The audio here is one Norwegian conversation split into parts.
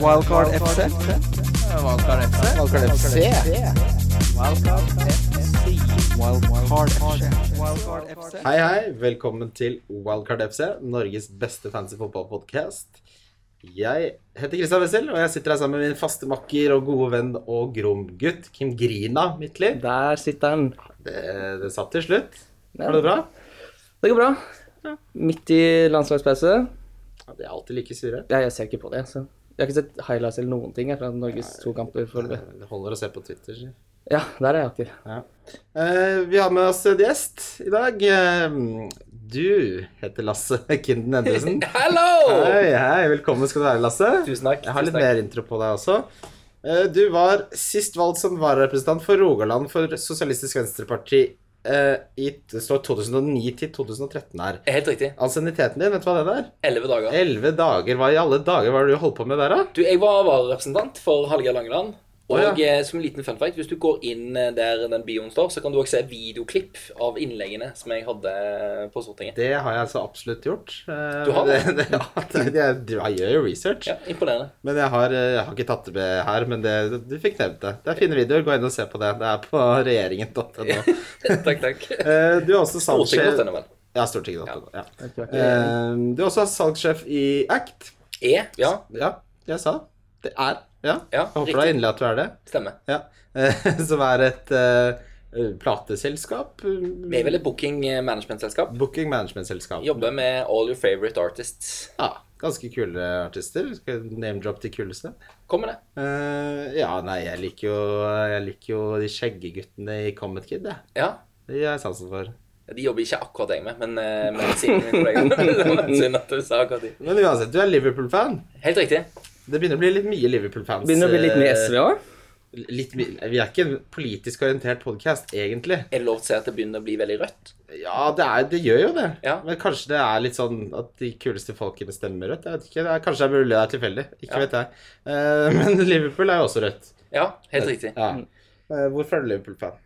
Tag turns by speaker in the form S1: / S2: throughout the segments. S1: Wildcard FC.
S2: Valgkar FC.
S1: Wildcard FC. Wildcard FC.
S3: Hei, hei. Velkommen til Wildcard FC, Norges beste fancy fotballpodkast. Jeg heter Kristian Wessel, og jeg sitter her sammen med min faste makker og gode venn og gromgutt Kim Grina Midtli.
S4: Der sitter den.
S3: Det, det satt til slutt. Var det bra?
S4: Det går bra. Midt i landslagspause.
S3: Ja, De er alltid like sure.
S4: Ja, jeg ser ikke på det. Så. Jeg har ikke sett highlights eller noen ting jeg, fra Norges to kamper foreløpig.
S3: Det holder å se på Twitter. sier.
S4: Ja, der er jeg aktiv.
S3: Eh, vi har med oss en gjest i dag. Eh, Du heter Lasse Kinden Endresen.
S2: Hello!
S3: Hei, hei. Velkommen skal du være, Lasse.
S2: Tusen takk.
S3: Jeg har
S2: tusen
S3: litt
S2: takk.
S3: mer intro på deg også. Eh, Du var sist valgt som vararepresentant for Rogaland for Sosialistisk Venstreparti eh, i det står 2009 til 2013 her.
S2: Helt riktig.
S3: Ansienniteten din, vet du hva det er?
S2: Elleve dager.
S3: Elleve dager. Hva i alle dager var det du holdt på med der, da?
S2: Du, jeg var vararepresentant for Hallgeir Langeland. Og
S3: Å,
S2: eh, som en liten fun fact, hvis du går inn eh, der den bioen står, så kan du også se videoklipp av innleggene som jeg hadde eh, på Stortinget.
S3: Det har jeg altså absolutt gjort. Eh,
S2: Du har det?
S3: det, ja, det, jeg, du- jeg gjør jo research.
S2: Ja, Imponerende.
S3: Men jeg har, eh, jeg har ikke tatt det med her, men det, du fikk nevnt det. Det er fine videoer. Gå inn og se på det. Det er på regjeringen.no.
S2: takk, takk.
S3: Eh, Du er også
S2: Stortinget
S3: salgssjef
S2: denne, vel.
S3: Ja, Stortinget.no. Ja.
S4: Jeg tror ikke-
S3: Eh, du er også salgssjef i Act.
S2: E? Ja.
S3: Ja, jeg sa det er. Ja.
S2: Ja,
S3: jeg håper da
S2: riktig.
S3: inderlig at du er det.
S2: Stemmer.
S3: Ja. Eh, Som er et eh, plateselskap. mm,
S2: Vi er vel et booking eh, management-selskap.
S3: Booking management-selskap.
S2: Jobber med all your favorite artists.
S3: Ja, ganske kule artister. Skal jeg name-drop de kuleste.
S2: Kommer det?
S3: Eh, ja, nei, jeg liker jo, jeg liker jo de skjeggeguttene i Comet Kid, jeg.
S2: Ja.
S3: De har jeg sansen for.
S2: De jobber ikke akkurat jeg med, men, eh, men siden min kollega Synd at du sa akkurat de.
S3: Men uansett, du er Liverpool-fan.
S2: Helt riktig.
S3: Det begynner å bli litt mye Liverpool-fans.
S4: Begynner å bli litt mer
S3: eh,
S4: SV òg.
S3: litt mye- vi er ikke en politisk orientert podkast, egentlig.
S2: Er det lov til å si at det begynner å bli veldig rødt?
S3: Ja, det, er, det gjør jo det.
S2: Ja.
S3: Men kanskje det er litt sånn at de kuleste folkene stemmer rødt. Jeg vet ikke, det er, Kanskje det er mulig det er tilfeldig. Ikke
S2: Ja.
S3: vet jeg. Eh, men Liverpool er jo også rødt.
S2: Ja, helt riktig.
S3: Ja. Eh, hvorfor er du Liverpool-fan?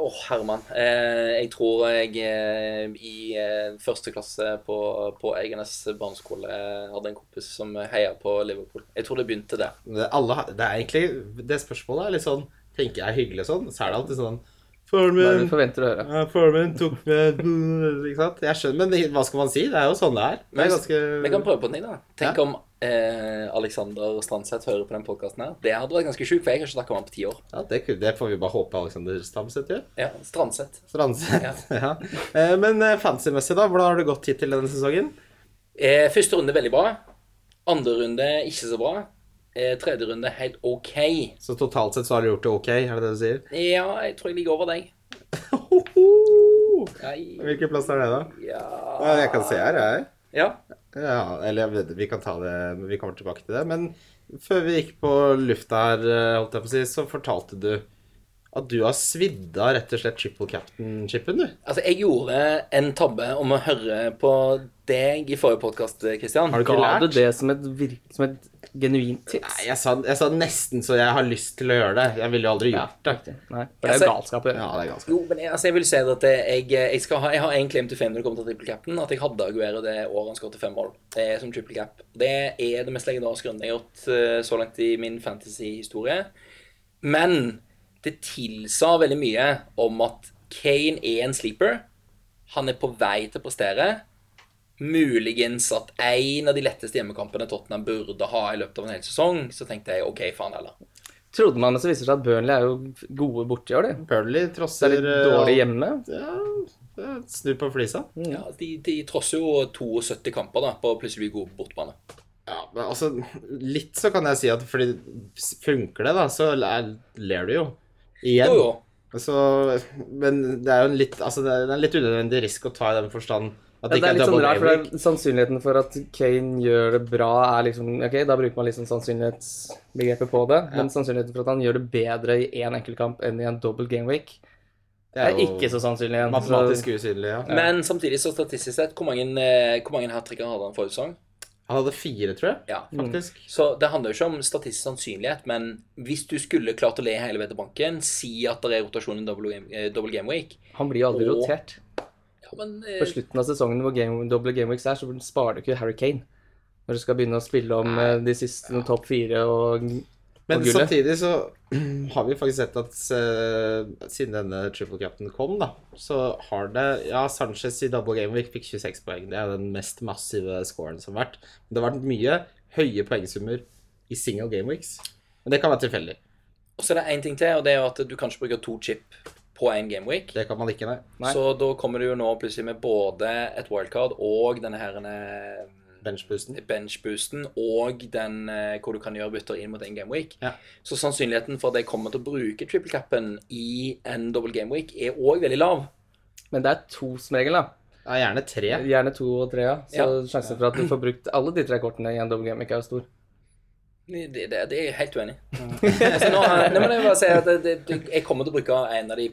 S2: Åh, Herman. Eh, jeg tror jeg eh, i eh, første klasse på, på Egernes barneskole eh, hadde en kompis som heia på Liverpool. Jeg tror det begynte der.
S3: Det, alle, har- det er egentlig Det spørsmålet er litt sånn Tenker jeg er hyggelig og sånn, så er det alltid sånn Faren
S4: Hva er det
S3: min,
S4: du forventer å høre?
S3: ja, faren min tok med Ikke sant? Jeg skjønner, men hva skal man si? Det er jo sånn det er. Det
S2: Men
S3: er
S2: vi-
S3: ganske
S2: Vi kan prøve på den i dag. Tenk
S3: Mm. Ja.
S2: om eh, Alexander Strandseth hører på den podkasten her. Det hadde vært ganske sjukt, for jeg har ikke snakket om han på ti år.
S3: ja, det, kunne- det får vi bare håpe Alexander Stamseth gjør.
S2: Ja, Strandseth.
S3: Strandseth. Ja. Eh, Men eh, fancy-messig, da? Hvordan har det gått hittil denne sesongen?
S2: Eh, første runde veldig bra. Andre runde ikke så bra. Eh, tredje runde helt OK.
S3: Så totalt sett så har du gjort det ok, er det det du sier?
S2: Ja, jeg tror jeg ligger over deg. Jeg,
S3: Hvilken plass er det, da?
S2: ja.
S3: Ja, jeg kan se her, jeg.
S2: ja.
S3: Ja, eller jeg vet- vi kan ta det Vi kommer tilbake til det. Men før vi gikk på lufta her, eh, holdt jeg på å si, så fortalte du at du har svidd av rett og slett triple captain-chipen, du.
S2: Altså, jeg gjorde en tabbe om å høre på deg i forrige podkast, Kristian.
S3: Har du ikke
S4: Ga
S3: lært?
S4: du det som et, virk, som et genuint tips?
S3: Nei, jeg sa, jeg sa nesten så jeg har lyst til å gjøre det. Jeg ville jo aldri gjort det.
S4: Nei, for det er jo galskap å gjøre.
S3: Ja, det er ganske
S2: Jo, men jeg, altså, jeg vil si at jeg, eh, jeg, skal ha, jeg har en claim to fame når det kommer til triple cap'n. At jeg hadde Aguero det året han skåret fem mål eh, som triple cap. Det er det mest legendariske runden jeg har gjort eh, så langt i min fantasy-historie. Men det tilsa veldig mye om at Kane er en sleeper. Han er på vei til å prestere. Muligens at en av de letteste hjemmekampene Tottenham burde ha i løpet av en hel sesong, så tenkte jeg OK, faen heller.
S4: Trodde man, men så viser det seg at Burnley er jo gode borti år, de.
S3: Burnley
S4: Så
S3: trosser
S4: er litt
S3: eh,
S4: dårlig hjemme.
S3: Ja, ja, snu på flisa.
S2: Ja, de, de trosser jo 72 kamper da, på å plutselig bli gode på bortebane.
S3: Ja, men altså Litt så kan jeg si at fordi funker det, da, så er- ler du jo. Igjen.
S2: Jo, jo.
S3: Så, men det er jo en litt, altså det er det er en litt unødvendig risk å ta i den forstand
S4: Ja,
S3: at det
S4: det
S3: ikke
S4: er
S3: er
S4: litt sånn
S3: double
S4: rart, for
S3: A-week.
S4: det er sannsynligheten for at Kane gjør det bra, er liksom Ok, da bruker man liksom sannsynlighetsbegrepet på det, men sannsynligheten for at han gjør det bedre i én enkeltkamp enn i en double gameweek,
S3: Det
S4: er ikke så sannsynlig. igjen, så-
S3: matematisk usynlig, ja.
S2: Men samtidig, så statistisk sett, hvor mange, eh, hvor mange hat tricker hadde han forrige sesong?
S3: Han hadde fire, tror jeg,
S2: Ja.
S4: Mm.
S3: faktisk.
S2: Så det handler jo ikke om statistisk sannsynlighet, men hvis du skulle klart å le hele veien til banken, si at det er rotasjon i double game, eh, double game week
S4: Han blir jo aldri
S2: Åh.
S4: rotert.
S2: ja, men, eh,
S4: På slutten av sesongen hvor game, double gameweeks er, så sparer du ikke Harry Kane. når du skal begynne å spille om eh, de siste topp fire og,
S3: Men
S4: og gullet.
S3: samtidig så har vi faktisk sett at eh, siden denne triple cap'n kom, da, så har det Ja, Sanchez i double game week fikk 26 poeng. Det er den mest massive scoren som har vært. Men det har vært mye høye poengsummer i single game weeks. Men det kan være tilfeldig.
S2: Og så er det én ting til, og det er jo at du kan ikke bruke to chip på én gameweek.
S3: Det kan man ikke, nei.
S4: Nei.
S2: Så da kommer du jo nå plutselig med både et wildcard og denne her eh,
S3: Benchboosten.
S2: benchboosten og den eh, hvor du kan gjøre bytter inn mot en gameweek.
S3: Ja.
S2: Så sannsynligheten for at jeg kommer til å bruke triple cappen i en double gameweek er òg veldig lav.
S4: Men det er to som regel, da.
S3: Ja, gjerne tre.
S4: Gjerne to og tre, ja. Så
S2: Ja.
S4: sjansen for at du får brukt alle de tre kortene i en double game, ikke er jo stor.
S2: Det, det, det er jeg helt uenig i. altså, nå, nei, men jeg vil bare si at det, det, det, jeg kommer til å bruke en av de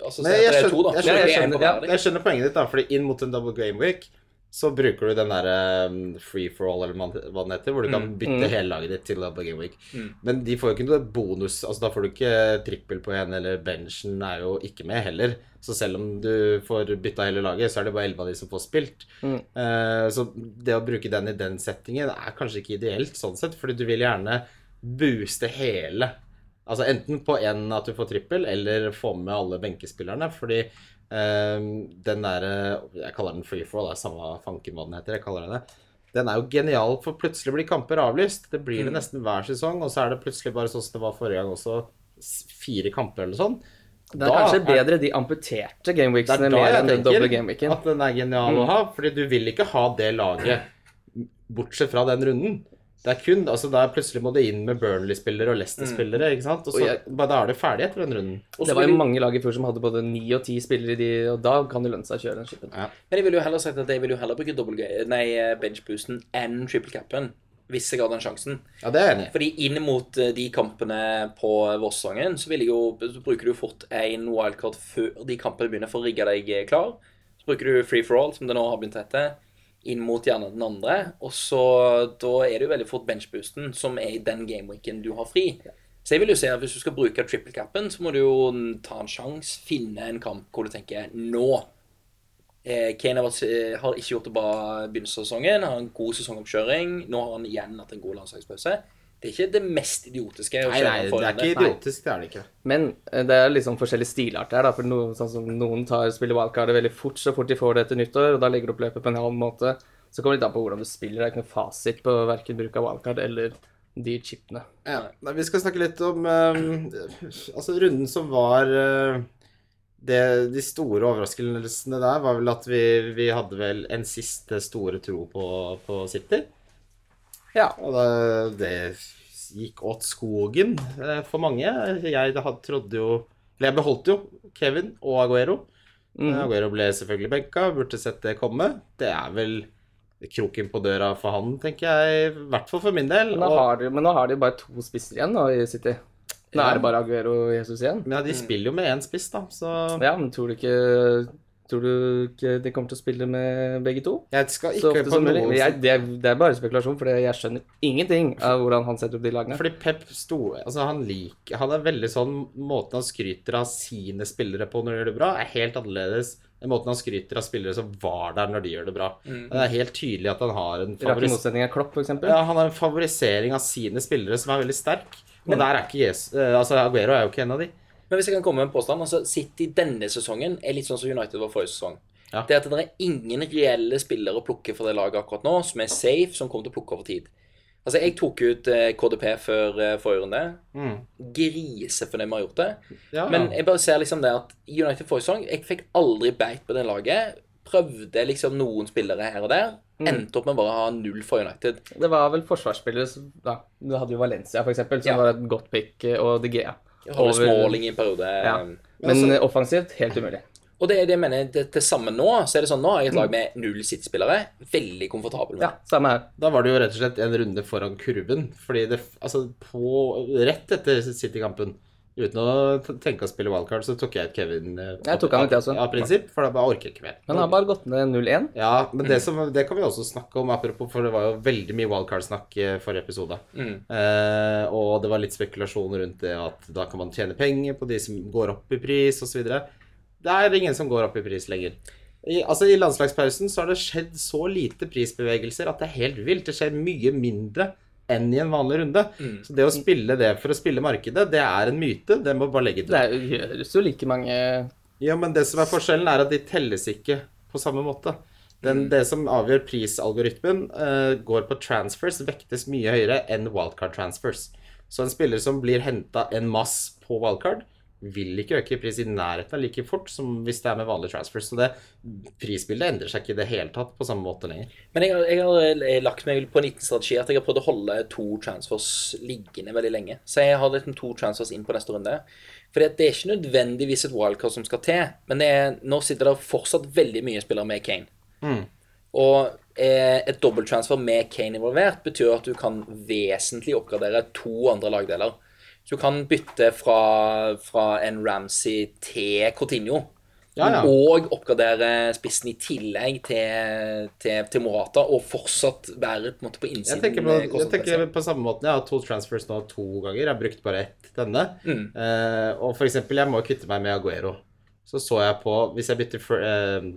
S2: Altså,
S3: Nei,
S2: si at
S3: jeg
S2: det er
S3: skjønner,
S2: to, da.
S3: jeg,
S2: Så
S3: skjønner,
S2: det
S3: jeg,
S2: er en
S3: skjønner,
S2: på hver av de.
S3: jeg skjønner poenget ditt, da, fordi inn mot en double game week så bruker du den derre free for all, eller man- hva den heter, hvor du kan bytte hele laget ditt til double game week.
S2: Mm.
S3: Men de får jo ikke noe bonus. altså Da får du ikke trippel på en, eller benchen er jo ikke med heller. Så selv om du får bytta hele laget, så er det bare elleve av de som får spilt.
S4: Mm.
S3: Eh, så det å bruke den i den settingen er kanskje ikke ideelt, sånn sett, fordi du vil gjerne booste hele. Altså enten på en at du får trippel, eller få med alle benkespillerne. Fordi eh, den derre Jeg kaller den free for all, det er samme fanken hva den heter. jeg kaller den det. Den er jo genial, for plutselig blir kamper avlyst. Det blir
S4: Mm.
S3: det nesten hver sesong, og så er det plutselig bare sånn som det var forrige gang også, s- fire kamper eller sånn.
S4: Det er kanskje bedre de amputerte
S3: Det
S4: gameweeksene
S3: er da
S4: mer
S3: jeg
S4: enn den doble
S3: tenker
S4: gameweeken.
S3: at den er genial å ha, fordi du vil ikke ha det laget bortsett fra den runden. Det er kun, altså der Plutselig må du inn med Burnley-spillere og Leicester-spillere. ikke sant? Mm. Og så,
S4: Og jeg-
S3: bare, da er det ferdig etter den runden.
S2: Og så
S4: Det var
S2: vil-
S4: jo mange lag i fjor som hadde både ni og ti spillere i de, og da kan det lønne seg å kjøre den skippen.
S2: Men jeg ville jo heller sagt at jeg ville jo heller bruke double ga- nei, eh, benchboosten enn triple cappen. Hvis jeg hadde den sjansen.
S3: Ja, det er jeg enig i.
S2: Fordi inn mot eh, de kampene på Vossangen, så, vil jeg jo, så bruker du fort en wildcard før de kampene begynner for å rigge deg eh, klar. Så bruker du free for all, som det nå har begynt å hete, inn mot gjerne den andre. Og så da er det jo veldig fort benchboosten, som er i den gameweeken du har fri. Så jeg vil jo si at hvis du skal bruke triple cappen, så må du jo ta en sjanse, finne en kamp hvor du tenker nå Eh, Kane har, vært, eh, har ikke gjort det bra i begynnelsen av sesongen. Har en god sesongoppkjøring. Nå har han igjen hatt en god landslagspause. Det er ikke det mest idiotiske. å
S3: Nei,
S2: kjøre
S3: nei, det er
S2: foran
S3: ikke idiotisk. Det er det ikke.
S4: Men eh, det er liksom forskjellige stilarter her, da. For noen, sånn som noen tar spiller wildcardet veldig fort, så fort de får det etter nyttår, og da legger du opp løpet på en halv måte. Så kommer det an på hvordan du spiller. Det er ikke noe fasit på verken bruk av wildcard eller de chipene.
S3: Ja, nei, vi skal snakke litt om eh, Altså, runden som var eh, det, De store overraskelsene der var vel at vi, vi hadde vel en siste store tro på, på City.
S4: Ja.
S3: Og det, det gikk åt skogen eh, for mange. Jeg had- trodde jo Eller jeg beholdt jo Kevin og Aguero.
S4: Mm.
S3: Aguero ble selvfølgelig benka, burde sett det komme. Det er vel kroken på døra for han, tenker jeg. I hvert fall for min del.
S4: Men nå,
S3: og-
S4: har de, men nå har de bare to spisser igjen nå i City. Nå
S3: Ja.
S4: er det bare Aguero og Jesus igjen.
S3: Men ja, de spiller jo med én spiss, da, så
S4: Mm. Ja, men tror du ikke Tror du ikke de kommer til å spille med begge to?
S3: Jeg skal
S4: Så
S3: ikke
S4: ofte
S3: på
S4: som mulig.
S3: noen
S4: Men jeg, det, er- det er bare spekulasjon, for jeg skjønner ingenting av hvordan han setter opp de lagene.
S3: Fordi Pep sto Altså, han liker Han er veldig sånn Måten han skryter av sine spillere på når de gjør det bra, er helt annerledes enn måten han skryter av spillere som var der når de gjør det bra. Det er helt tydelig at han har en
S4: Rake
S3: favoris
S4: Mm. motsetning av Klopp, for eksempel.
S3: ja, han har en favorisering av sine spillere som er veldig sterk. Og der er ikke Jesus eh, Altså, Aguero er jo ikke en av de.
S2: Men hvis jeg kan komme med en påstand, altså City denne sesongen er litt sånn som United var forrige sesong.
S3: Ja.
S2: Det er at det er ingen reelle spillere å plukke for det laget akkurat nå, som er safe, som kommer til å plukke over tid. Altså, jeg tok ut eh, KDP før eh, forrige runde.
S3: Mm.
S2: Grisefornøyd med å ha gjort det.
S3: Ja.
S2: Men jeg bare ser liksom det at United forrige sesong Jeg fikk aldri beit på det laget. Prøvde liksom noen spillere her og der. Endte opp med bare å ha null for United.
S4: Det var vel forsvarsspillere som da, Du hadde jo Valencia, for eksempel, som
S2: Ja.
S4: var et godt pick, eh, og De Gea.
S2: Holde
S4: Over-
S2: småling i en periode.
S4: Ja.
S3: Men
S4: Men offensivt, helt umulig.
S2: Og det er det jeg mener, det, det samme nå. Så er det sånn, nå har jeg et lag med null sittspillere. Veldig komfortabel med.
S4: Ja, samme her.
S3: Da var det jo rett og slett en runde foran kurven. Fordi det Altså, på Rett etter City-kampen, uten å t- tenke å spille wildcard, så tok jeg et Kevin eh,
S4: Jeg tok han ut, jeg også.
S3: Av prinsipp, for da bare orker jeg ikke mer.
S4: Men han har bare gått ned 0-1.
S3: Ja, men det, som, det kan vi også snakke om, apropos, for det var jo veldig mye wildcard-snakk eh, forrige episode.
S2: Mm.
S3: Eh, og det var litt spekulasjon rundt det at da kan man tjene penger på de som går opp i pris, osv. Det er ingen som går opp i pris lenger. I, altså, I landslagspausen så har det skjedd så lite prisbevegelser at det er helt vilt. Det skjer mye mindre enn i en vanlig runde. Så det å spille det for å spille markedet, det er en myte. Det må bare legge til.
S4: Det er- gjøres jo like mange
S3: Ja, men det som er forskjellen, er at de telles ikke på samme måte. Den, Det som avgjør prisalgoritmen, eh, går på transfers, vektes mye høyere enn wildcard transfers. Så en spiller som blir henta en masse på wildcard, vil ikke øke i pris i nærheten av like fort som hvis det er med vanlige transfers. Så det prisbildet endrer seg ikke i det hele tatt på samme måte lenger.
S2: Men jeg har, jeg har eh, lagt meg på en liten strategi at jeg har prøvd å holde to transfers liggende veldig lenge. Så jeg har liksom to transfers inn på neste runde. For det er ikke nødvendigvis et wildcard som skal til, men det er, nå sitter det fortsatt veldig mye spillere med Kane. Og eh, et dobbelttransfer med Kane involvert betyr at du kan vesentlig oppgradere to andre lagdeler. Så du kan bytte fra, fra en Ramsey til Coutinho.
S3: Ja, ja.
S2: Og oppgradere spissen i tillegg til, til, til Morata, og fortsatt være på, en måte, på
S3: Jeg
S2: innsiden.
S3: tenker, på,
S2: eh,
S3: jeg tenker
S2: kostnadsmessig.
S3: på samme måten. Jeg har to transfers nå to ganger. Jeg har brukt bare ett denne.
S4: Mm.
S3: Eh, og for eksempel, jeg må kvitte meg med Aguero. Så så jeg på Hvis jeg bytter for, eh,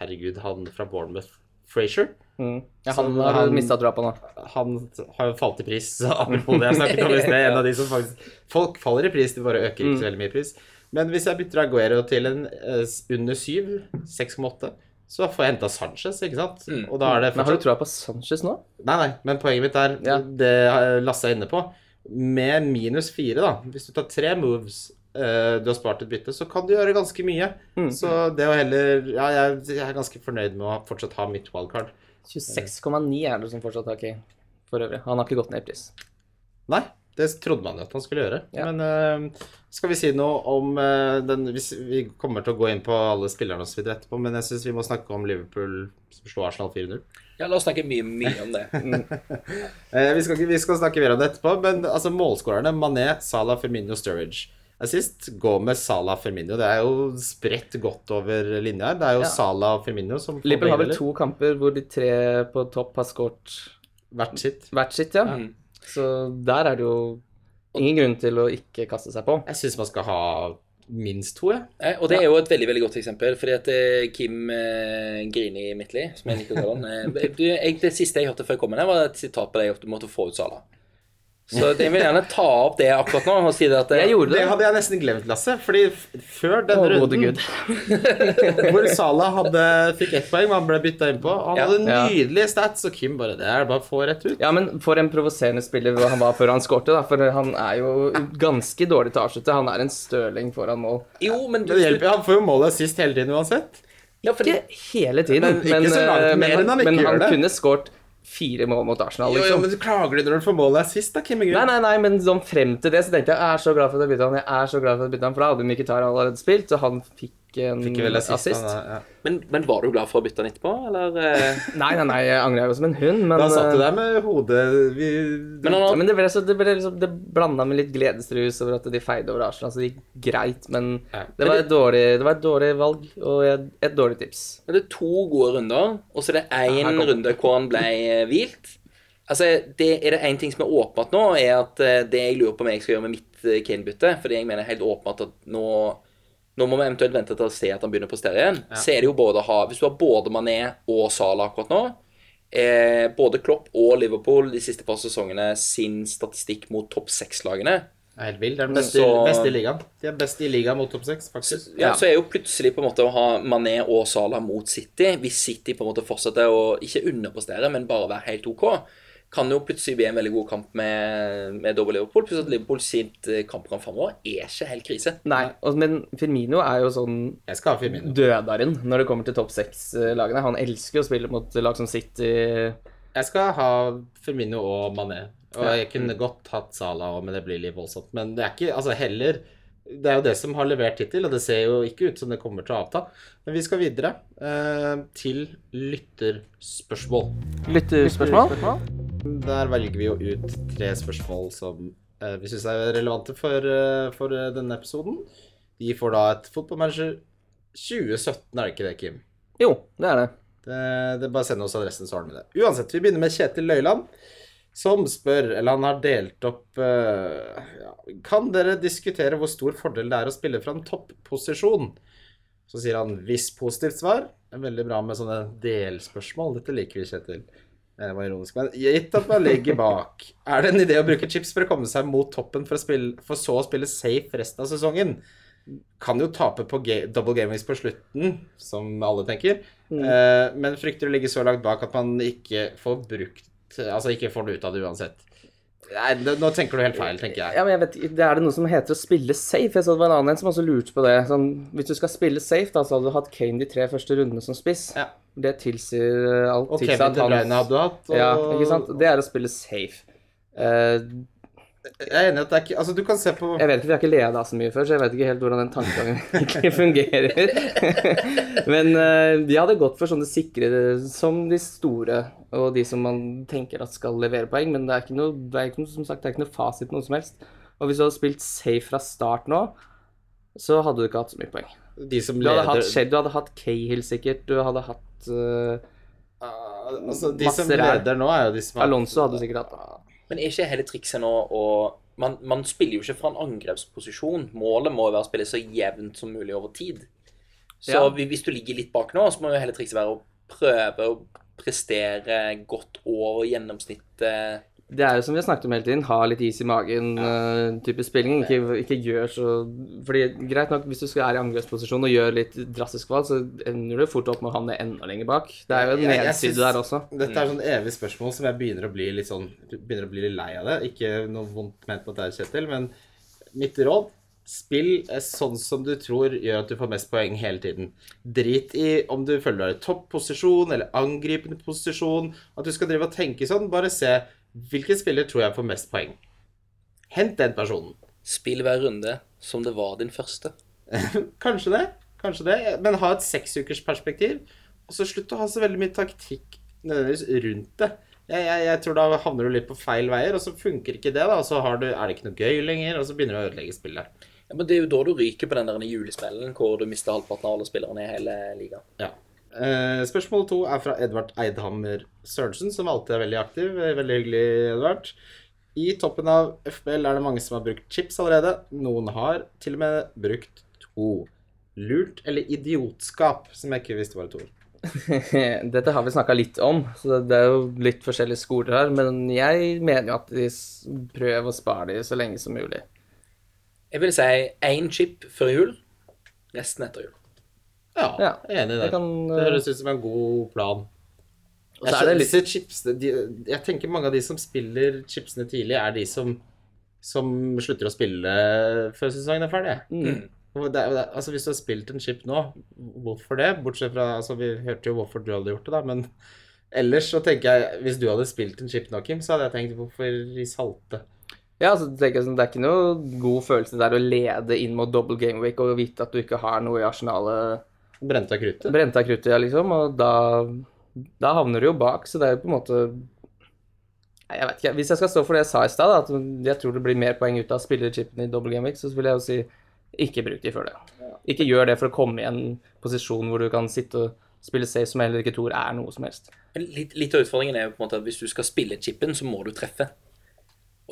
S3: Herregud, han fra Bournemouth, Frazier
S4: mm. ja,
S3: Så
S4: Han har
S3: han-
S4: du mista trua på nå.
S3: Han har jo falt i pris. Så apropos det jeg snakket om i sted, en av de som faktisk Folk faller i pris, de bare øker
S4: Mm.
S3: ikke så veldig mye i pris. Men hvis jeg bytter Aguero til en eh, under 7, 6,8, så får jeg henta Sanchez, ikke sant? Og da er det
S4: Mm. Men har du trua på Sanchez nå?
S3: Nei, nei, men poenget mitt er
S4: Ja.
S3: det eh, Lasse er inne på. Med minus fire, da, hvis du tar tre moves eh, du har spart et bytte, så kan du gjøre ganske mye.
S4: Mm.
S3: Så det å heller Ja, jeg, jeg er ganske fornøyd med å fortsatt ha mitt wildcard.
S4: 26,9 er det som fortsatt har Kane. For øvrig. Han har ikke gått ned i pris.
S3: Nei, det trodde man jo at han skulle gjøre.
S4: Ja.
S3: Men eh, skal vi si noe om eh, den hvis Vi kommer til å gå inn på alle spillerne og så videre etterpå, men jeg syns vi må snakke om Liverpool som slo Arsenal 4-0.
S2: Ja, la oss snakke mye, mye om det.
S3: Mm. Eh, vi, skal, ikke- vi skal snakke mer om det etterpå, men altså, målskårerne Mané, Salah, Firmino, Sturridge. Assist går med Salah Firmino. Det er jo spredt godt over linja her. Det er jo
S4: Ja.
S3: Salah og Firmino som får
S4: Liverpool har vel
S3: begge
S4: to kamper hvor de tre på topp har skåret
S3: deler. hvert sitt.
S4: hvert sitt,
S2: Mm.
S4: ja. Så der er det jo ingen grunn til å ikke kaste seg på.
S3: Jeg syns man skal ha minst to, jeg.
S2: Eh, Og det er jo et veldig veldig godt eksempel. fordi at eh, Kim eh, Grini Midtly, som jeg liker å kalle han eh, du, jeg, Det siste jeg hørte før jeg kom inn her, var et sitat på deg at du måtte få ut Sala. Så jeg vil gjerne ta opp det akkurat nå og si det at eh,
S4: Jeg gjorde
S3: Det
S4: det.
S3: hadde jeg nesten glemt, Lasse. Fordi f før den
S4: Å, gode
S3: runden
S4: gud.
S3: hvor Salah hadde, fikk ett poeng, men han ble bytta innpå Han
S2: Ja.
S3: hadde
S4: Ja.
S3: nydelige stats, og Kim bare Det er bare å få rett ut.
S4: Ja, men for en provoserende spiller han var før han skårte, da. For han er jo ganske dårlig til å avslutte. Han er en støling foran mål.
S2: Jo, men du
S3: Det hjelper, jo, han får jo målet sist hele tiden uansett.
S2: Ja, fordi,
S4: Ikke hele tiden, men,
S3: ikke så langt
S4: eh,
S3: mer enn han ikke
S4: men
S3: gjør det.
S4: kunne skåret fire mål mot Arsenal,
S3: Jo, jo,
S4: liksom.
S3: men du klager du når du får målet sist, da, Kim? Inge?
S4: Nei, nei, nei, men sånn frem til det så tenkte jeg jeg er så glad for at jeg bytta han, jeg er så glad for at jeg bytta han, for da hadde Mkhitar allerede spilt, og han fikk en
S3: Ikke vel assist.
S4: assist.
S3: han er- ja.
S2: men, men var du glad for å bytte den etterpå, eller? eh?
S4: Nei, nei, nei, jeg angrer jo som en hund, men,
S3: Da satt du
S4: eh,
S3: der med hodet vi,
S2: Men han
S4: ja,
S2: har
S4: men det ble, så, det ble liksom, det blanda med litt gledesrus over at de feide over Arsenal, så det gikk greit, men
S3: Ja.
S4: det var et dårlig, det var et dårlig valg, og et, et dårlig tips.
S2: Men Det er to gode runder, og så er det
S4: her
S2: én
S4: kommer-
S2: runde hvor han ble eh, hvilt. Altså, det, er det én ting som er åpenbart nå, er at eh, det jeg lurer på om jeg skal gjøre med mitt eh, Kane-bytte Fordi jeg mener helt åpenbart at nå, nå må vi eventuelt vente til å se at han begynner å prestere igjen. Så er det jo både å ha Hvis du har både Mané og Salah akkurat nå eh, Både Klopp og Liverpool de siste par sesongene sin statistikk mot topp seks-lagene
S3: er helt vill. Det er den beste,
S2: Så-
S3: beste i ligaen. De er best i ligaen mot topp seks, faktisk.
S2: ja, så er jo plutselig på en måte å ha Mané og Salah mot City, hvis City på en måte fortsetter å ikke underprestere, men bare være helt OK, kan jo plutselig bli en veldig god kamp med, med dobbel Liverpool. Pluss at Liverpool sitt eh, kampprogram framover er ikke helt krise.
S4: Nei, og, men Firmino er jo sånn
S3: Jeg skal ha Firmino.
S4: dødaren når det kommer til topp seks-lagene. Han elsker å spille mot lag som City.
S3: Jeg skal ha Firmino og Mané. Og jeg kunne godt hatt Salah òg, men det blir litt voldsomt. Men det er ikke Altså, heller Det er jo det som har levert hittil, og det ser jo ikke ut som det kommer til å avta. Men vi skal videre eh, til lytterspørsmål.
S4: Lyttespørsmål?
S3: Der velger vi jo ut tre spørsmål som eh, vi syns er relevante for, eh, for eh, denne episoden. De får da et fotballmanager 2017, er det ikke det, Kim?
S4: Jo, det er det.
S3: Det, det er Bare send oss adressen, så har han med det. Uansett, vi begynner med Kjetil Løyland, som spør Eller han har delt opp eh, ja, Kan dere diskutere hvor stor fordel det er å spille fra en topposisjon? Så sier han hvis positivt svar, Veldig bra med sånne delspørsmål. Dette liker vi, Kjetil. Det var ironisk, men gitt at man ligger bak, er det en idé å bruke chips for å komme seg mot toppen for, å spille, for så å spille safe resten av sesongen? Kan jo tape på ga double gamings på slutten, som alle tenker, eh, men frykter å ligge så langt bak at man ikke får brukt Altså ikke får det ut av det uansett. Nei, det, nå tenker du helt feil, tenker jeg.
S4: Ja, men jeg vet, ikke, det Er det noe som heter å spille safe? Jeg så det var en annen en som også lurte på det. Sånn, hvis du skal spille safe, da, så hadde du hatt Kane de tre første rundene som spiss.
S3: Ja.
S4: Det tilsier alt.
S3: Og
S4: tilsier
S3: Kevin
S4: at
S3: De
S4: han-
S3: Bruyne hadde du hatt. Og...
S4: Ja, ikke sant? Det er å spille safe. Eh,
S3: Jeg er enig i at det er ikke Altså, du kan se på
S4: jeg vet ikke, Vi har ikke leda så mye før, så jeg vet ikke helt hvordan den tankegangen egentlig fungerer. Men eh, de hadde gått for sånne sikre som de store, og de som man tenker at skal levere poeng. Men det er ikke noe, det er ikke noe, som sagt, det er ikke noe fasit noe som helst. Og hvis du hadde spilt safe fra start nå, så hadde du ikke hatt så mye poeng.
S3: de som
S4: Du hadde
S3: leder
S4: hatt Shed, du hadde hatt Cahill sikkert, du hadde hatt eh,
S3: Altså, de som
S4: Masse ræl.
S3: leder nå, er jo de som har
S4: Alonso hadde du sikkert hatt.
S2: Men er ikke hele trikset nå å man, man spiller jo ikke fra en angrepsposisjon. Målet må jo være å spille så jevnt som mulig over tid. Så
S4: Ja.
S2: vi- hvis du ligger litt bak nå, så må jo hele trikset være å prøve å prestere godt over gjennomsnittet.
S4: Det er jo som vi har snakket om hele tiden, ha litt is i magen-type spilling. Ikke, ikke gjør så Fordi greit nok, hvis du skal er i angrepsposisjon og gjør litt drastisk valg, så ender du fort opp med å havne enda lenger bak. Det er jo en
S3: Jeg- jeg
S4: nedside
S3: synes-
S4: der også.
S3: Dette er sånn evig spørsmål som jeg begynner å bli litt sånn Begynner å bli litt lei av det. Ikke noe vondt ment mot deg, Kjetil, men mitt råd Spill eh, sånn som du tror gjør at du får mest poeng hele tiden. Drit i om du føler du er i topposisjon eller angripende posisjon. At du skal drive og tenke sånn. Bare se hvilken spiller tror jeg får mest poeng. Hent den personen.
S2: Spill hver runde som det var din første.
S3: Kanskje det. Kanskje det. Men ha et seksukersperspektiv. Og så slutt å ha så veldig mye taktikk nødvendigvis rundt det. Jeg, jeg, jeg tror da havner du litt på feil veier, og så funker ikke det. da, Og så har du, er det ikke noe gøy lenger, og så begynner du å ødelegge spillet.
S2: Ja, men Det er jo da du ryker på den der julesmellen hvor du mister halvparten av alle spillerne i hele ligaen.
S3: Ja. Eh, spørsmål to er fra Edvard Eidhammer Sørensen, som alltid er veldig aktiv. Veldig hyggelig, Edvard. I toppen av FBL er det mange som har brukt chips allerede. Noen har til og med brukt to. Lurt eller idiotskap, som jeg ikke visste var et ord.
S4: Dette har vi snakka litt om, så det er jo litt forskjellige skoler her. Men jeg mener jo at de s- prøver å spare de så lenge som mulig.
S2: Jeg vil si én chip før jul, resten etter jul.
S3: Ja,
S4: Ja,
S3: jeg er enig i det.
S4: jeg kan, eh,
S3: det høres ut som en god plan.
S4: så
S3: Jeg,
S4: er det
S3: skjønner
S4: litt-
S3: disse chipsene, de, jeg tenker mange av de som spiller chipsene tidlig, er de som, som slutter å spille før sesongen er ferdig.
S4: Mm.
S3: Og Det, er jo det, altså hvis du har spilt en chip nå, hvorfor det? Bortsett fra altså Vi hørte jo hvorfor du hadde gjort det, da, men ellers så tenker jeg Hvis du hadde spilt en chip nå, Kim, så hadde jeg tenkt hvorfor i salte?
S4: Ja, altså, tenker jeg sånn, Det er ikke noe god følelse der å lede inn mot double game week og vite at du ikke har noe i arsenalet.
S3: Brente av kruttet?
S4: Brent av kruttet, ja, liksom, og da, da havner du jo bak, så det er jo på en måte Nei, jeg vet ikke. Hvis jeg skal stå for det jeg sa i stad, da, at jeg tror det blir mer poeng ut av å spille chipene i double game week, så vil jeg jo si ikke bruk de før det. Ikke gjør det for å komme i en posisjon hvor du kan sitte og spille safe som jeg heller ikke tror er noe som helst.
S2: Men Litt, litt av utfordringen er jo på en måte at hvis du skal spille chipen, så må du treffe.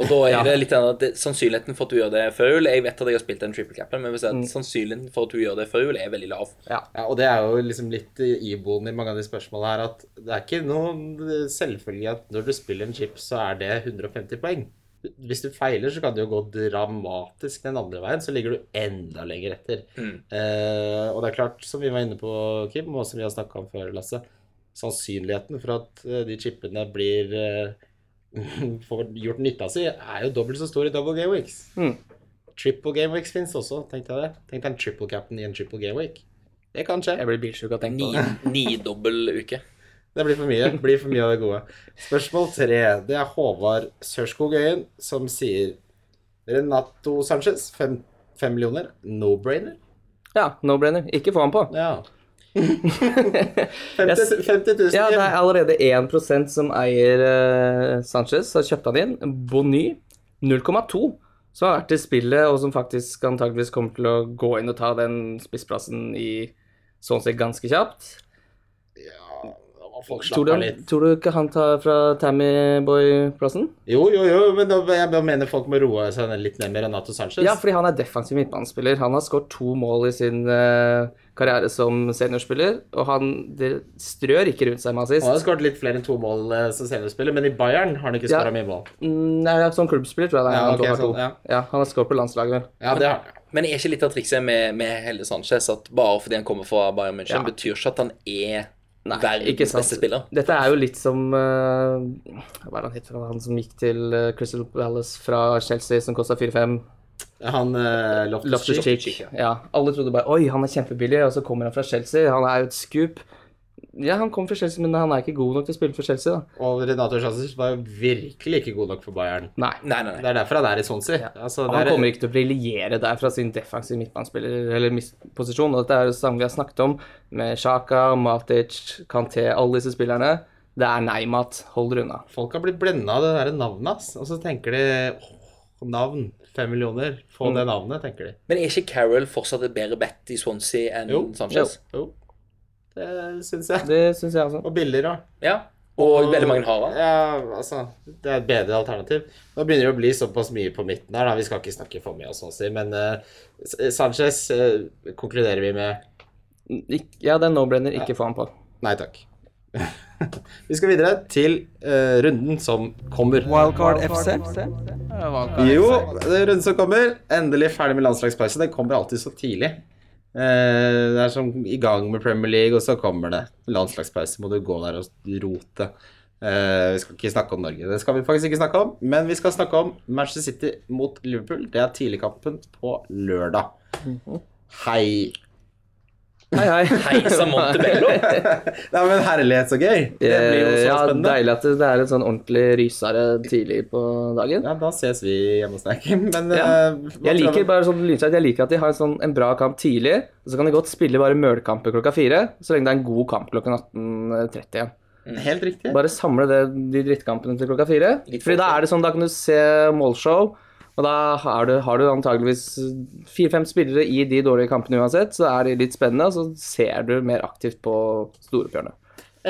S2: Og da er
S4: Ja.
S2: det litt annet at det, sannsynligheten for at du gjør det før jul Jeg vet at jeg har spilt den triple capen, men hvis jeg,
S4: Mm.
S2: sannsynligheten for at du gjør det før jul, er veldig lav.
S4: Ja.
S3: Ja, og det er jo liksom litt iboende i mange av de spørsmålene her, at det er ikke noen eh, selvfølge at når du spiller en chip, så er det 150 poeng. Hvis du feiler, så kan det jo gå dramatisk den andre veien, så ligger du enda lenger etter. Eh, og det er klart, som vi var inne på, Kim, og som vi har snakka om før, Lasse, sannsynligheten for at eh, de chipene blir eh, får gjort nytta si, er jo dobbelt så stor i double game weeks.
S4: Mm.
S3: Triple game weeks fins også, tenkte jeg det. Tenk deg en triple cap'n i en triple game week. Det kan skje.
S4: Jeg blir bilsjuk av å tenke på
S2: Ni,
S4: det.
S2: nidobbel uke.
S3: Det blir for mye. Blir for mye av det gode. Spørsmål tre. Det er Håvard Sørskog Øyen som sier Renato Sanchez, fem, fem millioner. No-brainer?
S4: Ja, no-brainer. Ikke få han på.
S3: Ja. 50, 50 000.
S4: Ja, det
S3: Kim.
S4: er allerede 1 som eier eh, Sanchez. Så kjøpte han inn Bonny 0,2, som har vært i spillet, og som faktisk antageligvis kommer til å gå inn og ta den spissplassen i sånn sett ganske kjapt.
S3: Å, Folk
S4: Tror du,
S3: slapper av litt.
S4: tror du ikke han tar fra Tammy Boy-plassen?
S3: Jo, jo, jo, men da, jeg bare mener folk må roe seg ned litt ned med Renato Sanchez.
S4: Ja, fordi han er defensiv midtbanespiller. Han har skåret to mål i sin eh, karriere som seniorspiller, og han det strør ikke rundt seg med
S3: Han har
S4: assist.
S3: skåret litt flere enn to mål eh, som seniorspiller, men i Bayern har han ikke
S4: Ja.
S3: skåra mye mål.
S4: Mm, Nei, som klubbspiller tror jeg det er
S3: Ja,
S4: han
S3: ok,
S4: kommer
S3: sånn,
S4: to.
S3: ja.
S4: Ja, han har skåret på landslaget, vel.
S3: Ja, det har han.
S2: Men er ikke litt av trikset med, med Helle Sanchez at bare fordi han kommer fra Bayern München,
S4: Ja.
S2: betyr ikke at han er
S4: Nei, ikke
S2: verdens
S4: sant.
S2: beste spiller?
S4: Dette er jo litt som eh, Hva er det han heter? Han som gikk til eh, Crystal Palace fra Chelsea, som kosta 4-5.
S3: Han uh, Loftus
S4: Loftus
S3: Cheek.
S4: Cheek. Ja. Alle trodde bare Oi, han er kjempebillig, og så kommer han fra Chelsea. Han er jo et scoop. Ja, han kommer fra Chelsea, men han er ikke god nok til å spille for Chelsea, da.
S3: Og Renato Sanchez var jo virkelig ikke god nok for Bayern.
S4: Nei.
S2: Nei, nei,
S3: Det
S2: nei.
S3: er derfor han er i Swansea. Altså,
S4: Og
S3: det
S4: Han
S3: er-
S4: kommer ikke til å briljere der fra sin defensive midtbanespiller eller mis- posisjon. Og dette er jo det samme vi har snakket om med Sjaka, Matic, Kanté, alle disse spillerne. Det er nei, Matt. Hold dere unna.
S3: Folk har blitt blenda av det der navnet hans, og så tenker de åh, navn. Fem millioner.
S2: Mm.
S3: Få det navnet, tenker de.
S2: Men er ikke Carroll fortsatt et bedre bet i Swansea enn
S3: Jo.
S2: Sanchez?
S3: Jo, det syns jeg.
S4: Det syns jeg også.
S3: Og billigere òg.
S2: Ja. Og, veldig mange har han.
S3: Ja, altså, det er et bedre alternativ. Nå begynner det å bli såpass mye på midten her, da. Vi skal ikke snakke for mye, og sånn å si, men eh, S- Sanchez eh, konkluderer vi med
S4: Ik ja, det er no-brainer. Ikke få han på.
S3: nei takk. vi skal videre til eh, runden som kommer.
S1: Wildcard FC.
S3: Jo, det er runden som kommer. Endelig ferdig med landslagspause. Den kommer alltid så tidlig. Eh, det er som i gang med Premier League, og så kommer det landslagspause. Må du gå der og rote. Eh, vi skal ikke snakke om Norge, det skal vi faktisk ikke snakke om. Men vi skal snakke om Manchester City mot Liverpool. Det er tidligkampen på lørdag.
S4: Mhm.
S3: Hei.
S4: Hei, hei.
S2: Heisa Montebello.
S3: Nei, men herlighet, så gøy. Det blir jo så
S4: Eh, ja,
S3: spennende.
S4: Deilig at det er en sånn ordentlig rysere tidlig på dagen.
S3: Ja, da ses vi hjemme hos deg. Men
S4: Ja.
S3: eh,
S4: Jeg
S3: hva tror du-
S4: liker bare sånn lynsjakt, jeg liker at de har en, sånn, en bra kamp tidlig, og så kan de godt spille bare mølkamper klokka fire, så lenge det er en god kamp klokken 18.30 igjen.
S3: Helt riktig.
S4: Bare samle det, de drittkampene til klokka fire.
S2: Litt
S4: Fordi da
S2: forskjell.
S4: er det sånn, da kan du se målshow, og da har du, har du antageligvis fire-fem spillere i de dårlige kampene uansett, så er de litt spennende, og så ser du mer aktivt på storeoppgjørene.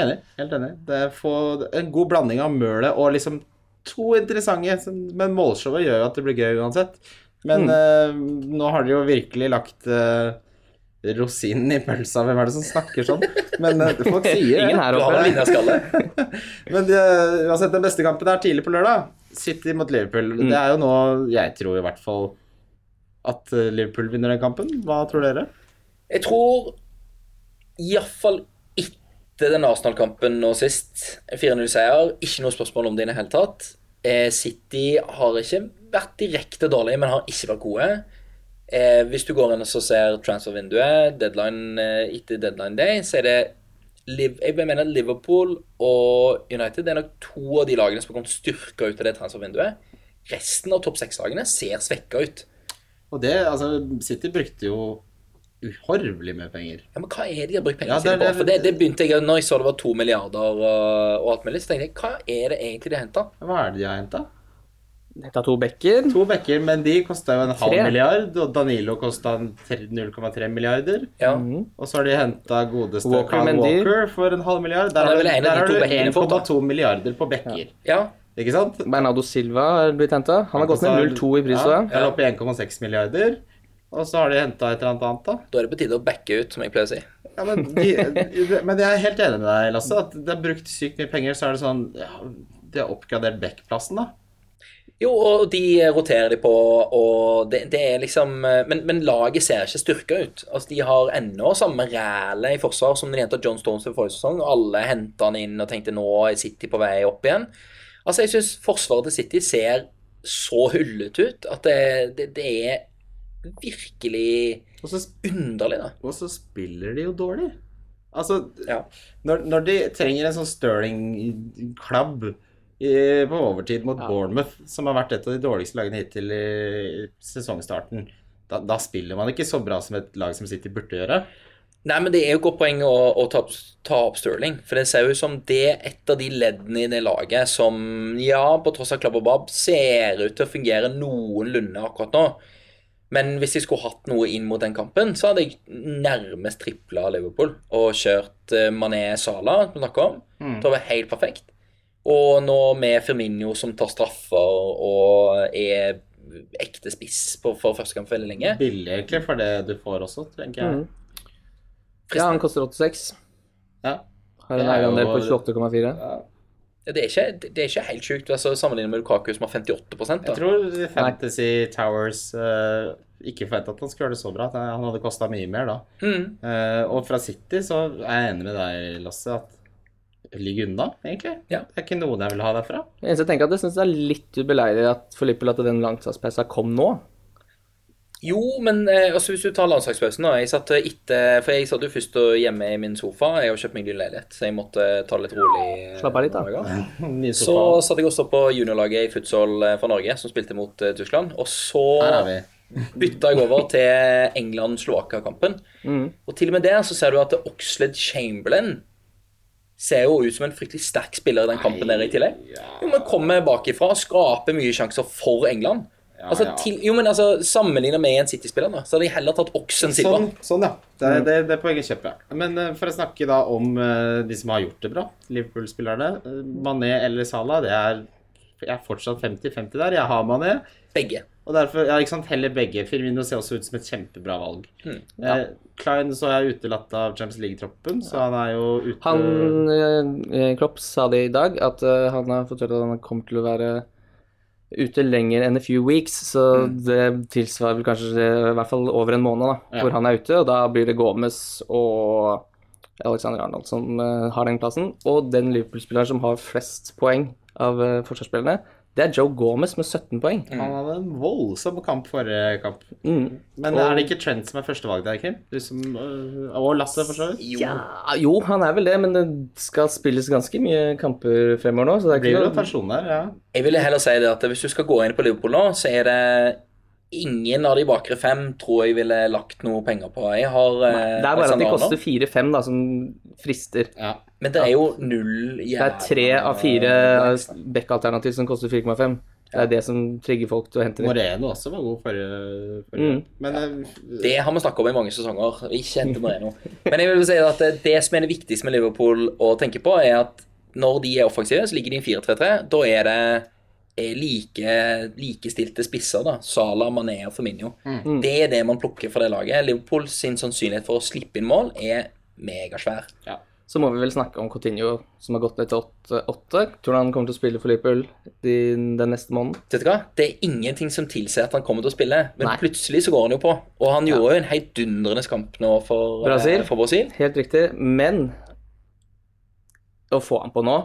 S3: Enig. Helt enig. Det er få- en god blanding av mølet og liksom to interessante som- Men målshowet gjør jo at det blir gøy uansett.
S4: Mm.
S3: Men eh, nå har de jo virkelig lagt eh, rosinen i pølsa. Hvem er det som snakker sånn? Men eh, folk sier
S4: Ingen
S3: det.
S4: her
S2: Du har
S4: oppe.
S2: vel vinnerskallet?
S3: Men eh, uansett, den beste kampen er tidlig på lørdag. City mot Liverpool.
S4: Mm.
S3: Det er jo nå jeg tror i hvert fall at eh, Liverpool vinner den kampen. Hva tror dere?
S2: Jeg tror iallfall etter den Arsenal-kampen nå sist, 4-0-seier, ikke noe spørsmål om det i det hele tatt. Eh, City har ikke vært direkte dårlig, men har ikke vært gode. Eh, hvis du går inn og så ser transfervinduet, deadline eh, etter deadline day, så er det Liv- jeg mener Liverpool og United det er nok to av de lagene som har kommet styrka ut av det transfervinduet. Resten av topp seks-lagene ser svekka ut.
S3: Og det, altså, City brukte jo uhorvelig med penger.
S2: Ja, men hva er det de har brukt pengene
S3: Ja, det er
S2: sine på?
S3: det-
S2: For det, det begynte jeg, når jeg så det var to milliarder og, og alt mulig, så tenkte jeg, hva er det egentlig de har hentet?
S3: Hva er det de har henta?
S4: Dette er to bekker.
S3: To bekker, men de kosta jo en halv
S4: Tre.
S3: milliard, og Danilo kosta 0,3 milliarder.
S2: Ja.
S4: Mm.
S3: Og så har de henta godeste
S4: Walker
S3: Walker, Kyle
S4: Mendy.
S3: Walker for en halv milliard. Der
S2: Han
S3: har
S2: er vel
S3: du-
S2: en av
S3: der
S2: de
S3: har
S2: to
S3: du
S2: bekkene fått, da.
S3: 1,2 milliarder på bekker.
S2: ja.
S3: Ikke sant?
S4: Bernardo Silva er blitt henta. Han har gått ned 0-2 i pris.
S3: Ja,
S4: da.
S3: er oppe i 1,6 milliarder. Og så har de henta et eller annet annet, da.
S2: Da er det på tide å backe ut, som jeg pleier å si.
S3: Ja, men, de, men jeg er helt enig med deg, Lasse. At det er brukt sykt mye penger, så er det sånn ja, De har oppgradert Beck-plassen, da.
S2: Jo, og de roterer de på, og det, det er liksom men, men laget ser ikke styrka ut. Altså, De har ennå samme ræle i forsvar som de henta John Stones i forrige sesong. og Alle henta han inn og tenkte nå er City på vei opp igjen. Altså, Jeg syns forsvaret til City ser så hullete ut at det, det, det er virkelig
S3: Og så sp-
S2: underlig, da.
S3: Og så spiller de jo dårlig. Altså,
S2: Ja.
S3: når, når de trenger en sånn Stirling-klabb i- på overtid mot Bournemouth, som har vært et av de dårligste lagene hittil i sesongstarten, da, da spiller man ikke så bra som et lag som City burde gjøre.
S2: Nei, men det er jo et godt poeng å, å ta, opp, ta opp Sterling. For det ser jo ut som det er et av de leddene i det laget som, ja, på tross av klabb og babb, ser ut til å fungere noenlunde akkurat nå. Men hvis jeg skulle hatt noe inn mot den kampen, så hadde jeg nærmest tripla Liverpool og kjørt eh, Mané Sala, som vi snakker om.
S3: Mm.
S2: Det hadde vært helt perfekt. Og nå med Firmino som tar straffer og er ekte spiss på, for første gang for veldig lenge.
S4: Mm.
S3: Billig egentlig for det du får også, tenker jeg.
S4: Ja, han koster 86.
S3: Ja.
S4: Har en
S3: Det er jo-
S4: eierandel på 28,4.
S2: Det er ikke, det er ikke helt sjukt altså, sammenlignet med Lukaku, som har 58 da.
S3: Jeg tror Fantasy Towers eh, ikke forventa at han skulle gjøre det så bra. at Han hadde kosta mye mer da.
S2: Mm.
S3: Eh, og fra City så er jeg enig med deg, Lasse, at ligg unna, egentlig.
S2: Ja.
S3: Det er ikke noen jeg vil ha derfra.
S4: Det eneste jeg tenker at jeg synes det er litt ubeleilig at Filippel at den langtidspausa kom nå.
S2: Jo, men eh, altså, hvis du tar landslagspausen da, jeg satt eh, etter, For jeg satt jo først og hjemme i min sofa. Jeg har kjøpt meg ny leilighet, så jeg måtte eh, ta det litt rolig. eh,
S4: Slapp av litt, da.
S2: noen dager.
S3: Nye
S2: Så
S3: sofaer.
S2: satt jeg også på juniorlaget i futsal eh, fra Norge, som spilte mot eh, Tyskland. Og
S3: Her er
S2: så
S3: vi.
S2: bytta jeg over til England-Slovakia-kampen.
S4: Mm.
S2: Og til og med der så ser du at Oxlade Chamberlain ser jo ut som en fryktelig sterk spiller i den kampen der i tillegg. Jo, men kommer bakifra, skaper mye sjanser for England. altså,
S3: ja.
S2: Til, jo, men altså, Sammenlignet med en City-spiller, da, så hadde jeg heller tatt Oxen Silva.
S3: Sånn, sånn, ja. Det, det, det poenget kjøper jeg. Men eh, for å snakke da om eh, de som har gjort det bra, Liverpool-spillerne. eh, Mané eller Salah, det er Jeg er fortsatt 50-50 der. Jeg har Mané.
S2: Begge.
S3: Og derfor, ja, ikke sant, heller begge. Firmino ser også ut som et kjempebra valg.
S2: Mm,
S3: eh, Klein så er utelatt av Champions League-troppen, så han er jo ute
S4: Han eh, Klopp sa det i dag, at eh, han har fortalt at han kommer til å være ute lenger enn a few weeks, så det tilsvarer vel kanskje eh, i hvert fall over en måned, da,
S3: Mm. Ja.
S4: hvor han er ute. Og da blir det Gomez og Alexander Arnold som eh, har den plassen. Og den Liverpool-spilleren som har flest poeng av eh, forsvarsspillerne, det er Joe Gomez med 17 poeng.
S3: Han hadde en voldsom kamp forrige kamp.
S4: Mm.
S3: Men er det ikke Trent som er førstevalget der, Kim? Du som, øh, og Lasse, for så vidt.
S2: Jo.
S4: Ja, jo, han er vel det, men det skal spilles ganske mye kamper fremover nå. Så det
S3: Det
S4: er
S3: blir jo
S4: ikke noe...
S3: rotasjon der, ja.
S2: Jeg ville heller si det at hvis du skal gå inn på Liverpool nå, så er det ingen av de bakre fem tror jeg ville lagt noe penger på. Jeg har eh,
S4: Det er bare at de
S2: Alexander Arnold,
S4: koster 4-5 da, som frister.
S3: ja.
S2: Men det er jo null
S4: Det er tre
S2: jævla-
S4: av fire eh, back-alternativ som koster 4,5. Det er det som trigger folk til å hente det.
S3: Moreno også var god forrige,
S4: Mm.
S3: forrige. Men øh,
S2: Det har vi snakket om i mange sesonger. Ikke hente Moreno. Men jeg vil si at det, det som er det viktigste med Liverpool å tenke på, er at når de er offensive, så ligger de i en 4-3-3. Da er det eh, like, likestilte spisser. da. Salah, Mané og Firmino.
S4: Mm.
S2: Det er det man plukker fra det laget. Liverpool sin sannsynlighet for å slippe inn mål er megasvær.
S4: Så må vi vel snakke om Coutinho, som har gått ned til åtte- åtte. Tror du han kommer til å spille for Liverpool de- den neste måneden?
S2: Vet du hva? Det er ingenting som tilsier at han kommer til å spille, men
S4: Nei.
S2: plutselig så går han jo på. Og han gjorde jo en heidundrende kamp nå for
S4: Brasil.
S2: eh, For Brasil.
S4: Helt riktig. Men å få han på nå,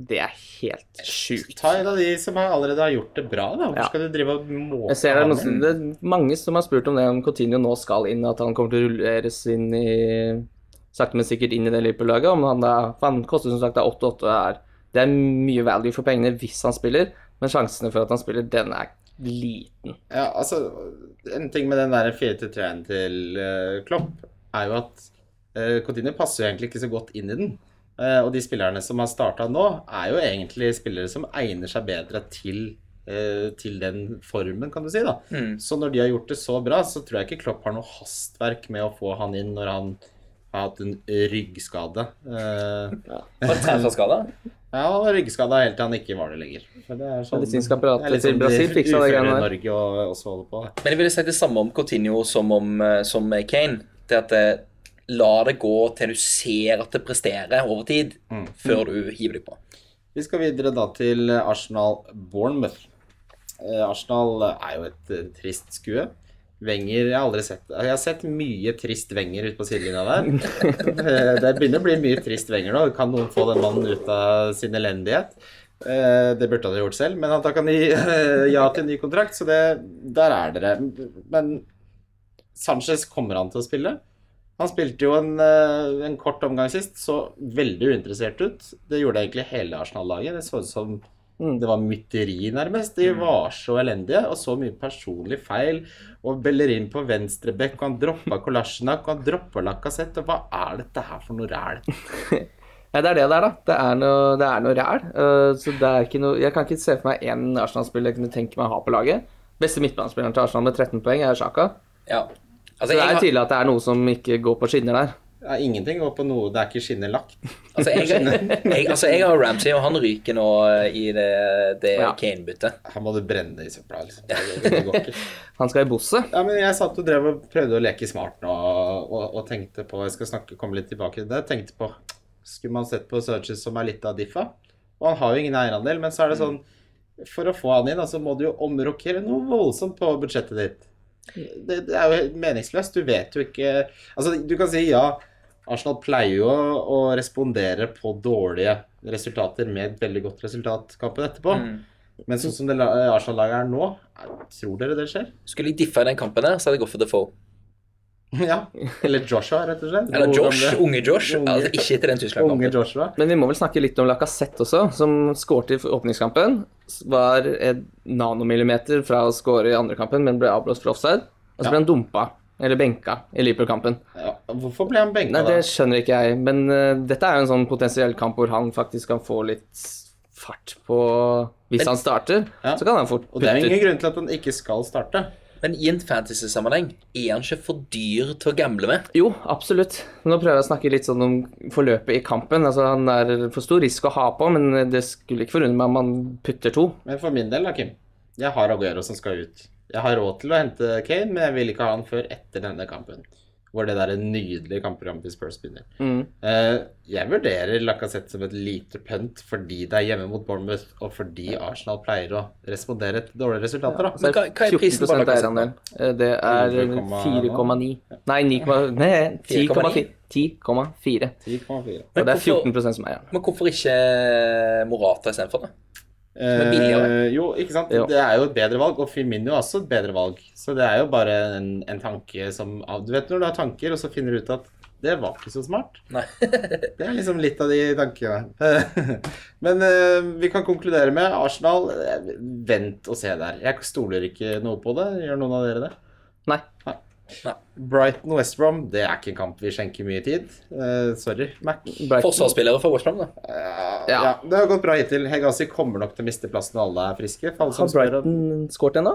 S4: det er helt sjukt.
S3: ta en av de som har- allerede har gjort det bra, da. Hvorfor
S4: Ja.
S3: skal du drive og måke
S4: Jeg ser det, er
S3: han?
S4: noen, som- det er mange som har spurt om det, om Coutinho nå skal inn, at han kommer til å rulleres inn i Sakte, men sikkert inn i det Liverpool-laget. Om han da for Han koster som sagt da 8-8 her. Det er mye value for pengene hvis han spiller, men sjansene for at han spiller, den er liten.
S3: Ja, altså, en ting med den der 4-3-en til eh, Klopp er jo at uh, Coutinho passer jo egentlig ikke så godt inn i den. Eh, og de spillerne som har starta nå, er jo egentlig spillere som egner seg bedre til, eh, til den formen, kan du si. da.
S2: Mm.
S3: Så når de har gjort det så bra, så tror jeg ikke Klopp har noe hastverk med å få han inn når han har hatt en ryggskade. Eh,
S2: Var det trefferskade?
S3: ja, han var ryggskada helt til han ikke var det lenger. For det er sånn,
S4: Medisinsk apparat
S3: det er litt
S4: til
S3: sånn
S4: Brasil
S3: de
S4: fiksa det
S3: uføre
S4: greiene der.
S3: i Norge og, også holder på. da.
S2: Men jeg ville si det samme om Coutinho som om eh, som eh, Kane. Det at eh, la det gå til du ser at det presterer over tid, før du hiver deg på.
S3: Vi skal videre da til Arsenal-Bournemouth. Eh, Arsenal er jo et eh, trist skue. Wenger Jeg har aldri sett Jeg har sett mye trist Wenger ute på sidelinja der. Eh, Det begynner å bli mye trist Wenger nå. Kan noen få den mannen ut av sin elendighet? Eh, Det burde han ha gjort selv, men han takka ny- eh, ja til ny kontrakt, så det, der er dere. Men Sanchez kommer han til å spille? Han spilte jo en, eh, en kort omgang sist, så veldig uinteressert ut. Det gjorde egentlig hele Arsenal-laget. Det så ut som det var mytteri, nærmest. De var så elendige, og så mye personlig feil. Og Bellerin på venstre bekk, og han droppa Kolasjnak, og han droppa Lacassette. Og hva er dette her for noe ræl?
S4: Nei, det er det det er, da. Det er noe, det er noe ræl. Eh, så det er ikke noe Jeg kan ikke se for meg én Arsenal-spiller jeg kunne tenke meg å ha på laget. Beste midtbanespilleren til Arsenal med 13 poeng er Sjaka.
S2: Ja.
S4: Så
S2: Altså,
S4: det
S2: jeg
S4: er
S2: har,
S4: tydelig at det er noe som ikke går på skinner der.
S3: Ja, ingenting går på noe. Det er ikke skinner lagt.
S2: Altså, jeg, jeg, altså, jeg har Ramsey, og han ryker nå eh, i det, det
S4: Ja.
S2: Kane-byttet.
S3: Her må du brenne det i søpla. Liksom. Det går- det går ikke.
S4: Han skal i bosset.
S3: Ja, men jeg satt og drev og prøvde å leke smart nå, og, og tenkte på Jeg skal snakke, komme litt tilbake til det. Tenkte på Skulle man sett på Searches som er litt av Diffa? Og han har jo ingen eierandel, men så er det sånn For å få han inn, da, så må du jo omrokere noe voldsomt på budsjettet ditt. Det, det er jo helt meningsløst. Du vet jo ikke Altså, du kan si ja. Arsenal pleier jo å, å respondere på dårlige resultater med et veldig godt resultat kampen etterpå.
S2: Mm.
S3: Men sånn som det la- Arsenal-laget er nå, tror dere det skjer?
S2: Skulle jeg diffa i den kampen der, så hadde jeg gått for Defoe.
S3: Ja, eller Joshua, rett og slett.
S2: Eller
S3: God
S2: Josh.
S3: gamle-
S2: Unge Josh.
S3: Unge-
S2: Altså, ikke etter den
S3: Unge
S2: Tyskland-kampen.
S3: Joshua.
S4: Men vi må vel snakke litt om Lacassette også, som skårte i åpningskampen. Var en nanomillimeter fra å skåre i andre kampen, men ble avblåst for offside. Og så
S3: Ja.
S4: ble han dumpa, eller benka, i Liverpool-kampen.
S3: Ja, hvorfor ble han benka
S4: Nei,
S3: da?
S4: det skjønner ikke jeg, men eh, dette er jo en sånn potensiell kamp hvor han faktisk kan få litt fart på Hvis han starter,
S3: Ja.
S4: så kan han fort
S3: Og det er jo
S4: putte
S3: ingen
S4: ut.
S3: grunn til at han ikke skal starte.
S2: Men i en fantasy-sammenheng er han ikke for dyr til å gamble med.
S4: Jo, absolutt. Nå prøver jeg å snakke litt sånn om forløpet i kampen. Altså, han er for stor risk å ha på, men det skulle ikke forundre meg om han putter to.
S3: Men for min del, da, Kim. Jeg har Aguero som skal ut. Jeg har råd til å hente Kane, men jeg vil ikke ha han før etter denne kampen. Hvor det der nydelige kampprogrammet til Spurs begynner.
S4: Mm.
S3: Eh, jeg vurderer Lacassette som et lite pønt fordi det er hjemme mot Bournemouth, og fordi Arsenal pleier å respondere til dårlige resultater, da.
S4: Så
S2: Men hva- hva er prisen på
S4: 14%
S2: Lacazette?
S4: eierandel. Eh, Det er 4,9 Nei, 9,4. Nei, 10,4. 10,4.
S3: 10,4.
S4: Og det er
S2: hvorfor-
S4: 14 som eier den.
S2: Men hvorfor ikke eh, Morata istedenfor? det? er billigere.
S3: Eh, jo, ikke sant.
S4: Jo.
S3: Det er jo et bedre valg, og Firmino er også et bedre valg. Så det er jo bare en, en tanke som av- Du vet når du har tanker, og så finner du ut at det var ikke så smart.
S2: Nei.
S3: Det er liksom litt av de tankene. Men eh, vi kan konkludere med Arsenal. eh, Vent og se der. Jeg stoler ikke noe på det. Gjør noen av dere det?
S4: Nei.
S2: Nei.
S3: Brighton West Brom, det er ikke en kamp vi skjenker mye tid. Eh, sorry, Mac.
S4: Brighton.
S2: Forsvarsspillere for Westbrook, da.
S3: Ja.
S4: Ja.
S3: Det har gått bra hittil. Hegazi kommer nok til å miste plassen når alle er friske. for alle
S4: Har
S3: som spør om-
S4: Brighton skåret ennå?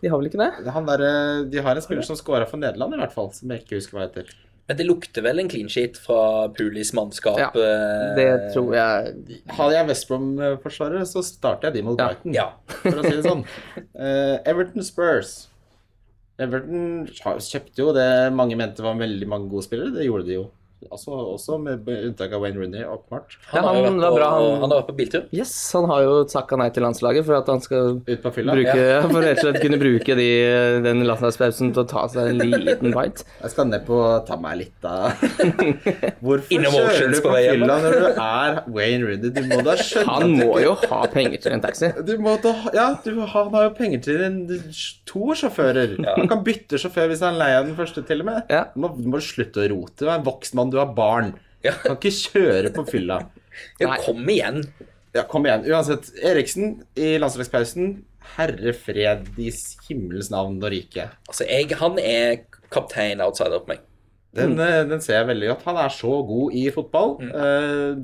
S4: De har vel ikke det?
S3: Han der, eh, de har en spiller som scora for Nederland, i hvert fall. Som jeg ikke husker hva heter.
S2: Men det lukter vel en clean sheet fra Pulis mannskap.
S4: Ja,
S2: eh,
S4: Det tror jeg
S3: Hadde jeg West Brom-forsvarer, så starter jeg de mot
S4: Ja.
S3: Brighton,
S2: Ja.
S3: for å si det sånn. Eh, Everton Spurs. Everton har- kjøpte jo det mange mente var veldig mange gode spillere. Det gjorde de jo. Altså, også med unntak av Wayne Rooney, åpenbart.
S2: Han,
S4: Ja,
S2: har jo
S4: han
S2: vært
S4: var
S2: på,
S4: bra, han-
S2: han har vært på biltur.
S4: Yes, han har jo takka nei til landslaget for at han skal
S3: Ut på fylla.
S4: bruke, for rett og slett kunne bruke de, den landslagspausen til å ta seg en liten bite.
S3: Jeg skal ned på ta meg litt av Hvorfor
S2: Innom
S3: kjører
S2: Oceans
S3: du
S2: på
S3: på
S2: vei hjem.
S3: fylla når du er Wayne Rooney? Du må da skjønne
S4: Han
S3: at du
S4: må
S3: ikke-
S4: jo ha penger til en taxi.
S3: Du må ta, ja, du, han har jo penger til en, to sjåfører. Han kan bytte sjåfør hvis han er lei av den første, til og med.
S4: Ja.
S3: Du, må, du må slutte å rote. Du er en voksen mann, du har barn.
S2: Ja.
S3: Du kan ikke kjøre på fylla.
S2: Ja,
S4: Nei.
S2: kom igjen.
S3: Ja, kom igjen. Uansett, Eriksen i landslagspausen. Herre fred i himmelens navn og rike.
S2: Altså, jeg, han er kaptein outsider på meg.
S3: Den, eh, den ser jeg veldig godt. Han er så god i fotball. Mm.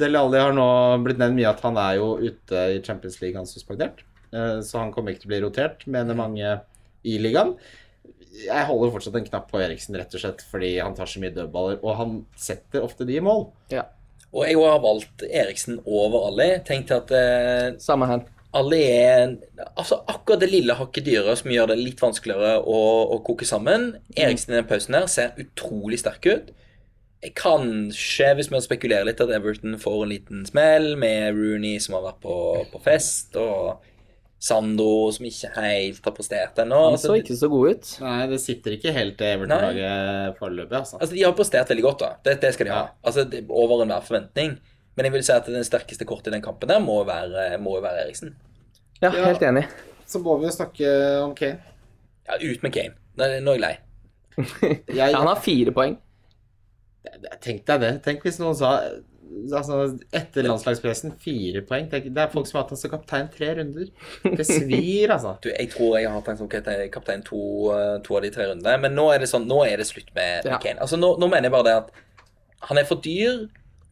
S3: Dele Alli har nå blitt nevnt mye at han er jo ute i Champions League, han er suspendert. Eh, så han kommer ikke til å bli rotert, mener mange i ligaen. Jeg holder fortsatt en knapp på Eriksen, rett og slett, fordi han tar så mye dødballer. Og han setter ofte de i mål.
S4: Ja,
S2: Og jeg har valgt Eriksen over alle. Tenkt at eh,
S4: Samme her.
S2: alle er en, altså akkurat det lille hakket dyrere som gjør det litt vanskeligere å, å koke sammen. Eriksen i den pausen her ser utrolig sterk ut. Kanskje, hvis vi spekulerer litt, at Everton får en liten smell med Rooney som har vært på, på fest, og Sandro som ikke helt har prestert ennå.
S4: Han
S2: Altså,
S4: så ikke så god ut.
S3: Nei, det sitter ikke helt det Everton-laget foreløpig, altså.
S2: Altså, De har prestert veldig godt, da. Det, det skal de ha.
S3: Ja.
S2: Altså, det, Over enhver forventning. Men jeg vil si at den sterkeste kortet i den kampen der må være, må være Eriksen.
S4: Ja,
S3: Ja.
S4: helt enig.
S3: Så må vi jo snakke om Kane.
S2: Ja, Ut med Kane. Nå er nå er jeg lei.
S3: Jeg,
S4: Ja, han har fire poeng.
S3: Tenk deg det. Tenk hvis noen sa altså, etter landslagspressen fire poeng. Tenk, det er folk som har hatt han som kaptein tre runder. Det svir, altså.
S2: Du, jeg tror jeg har hatt han som kaptein kaptein to, eh, to av de tre rundene. Men nå er det sånn, nå er det slutt med
S4: Ja.
S2: Kane. Altså, nå, nå mener jeg bare det at han er for dyr.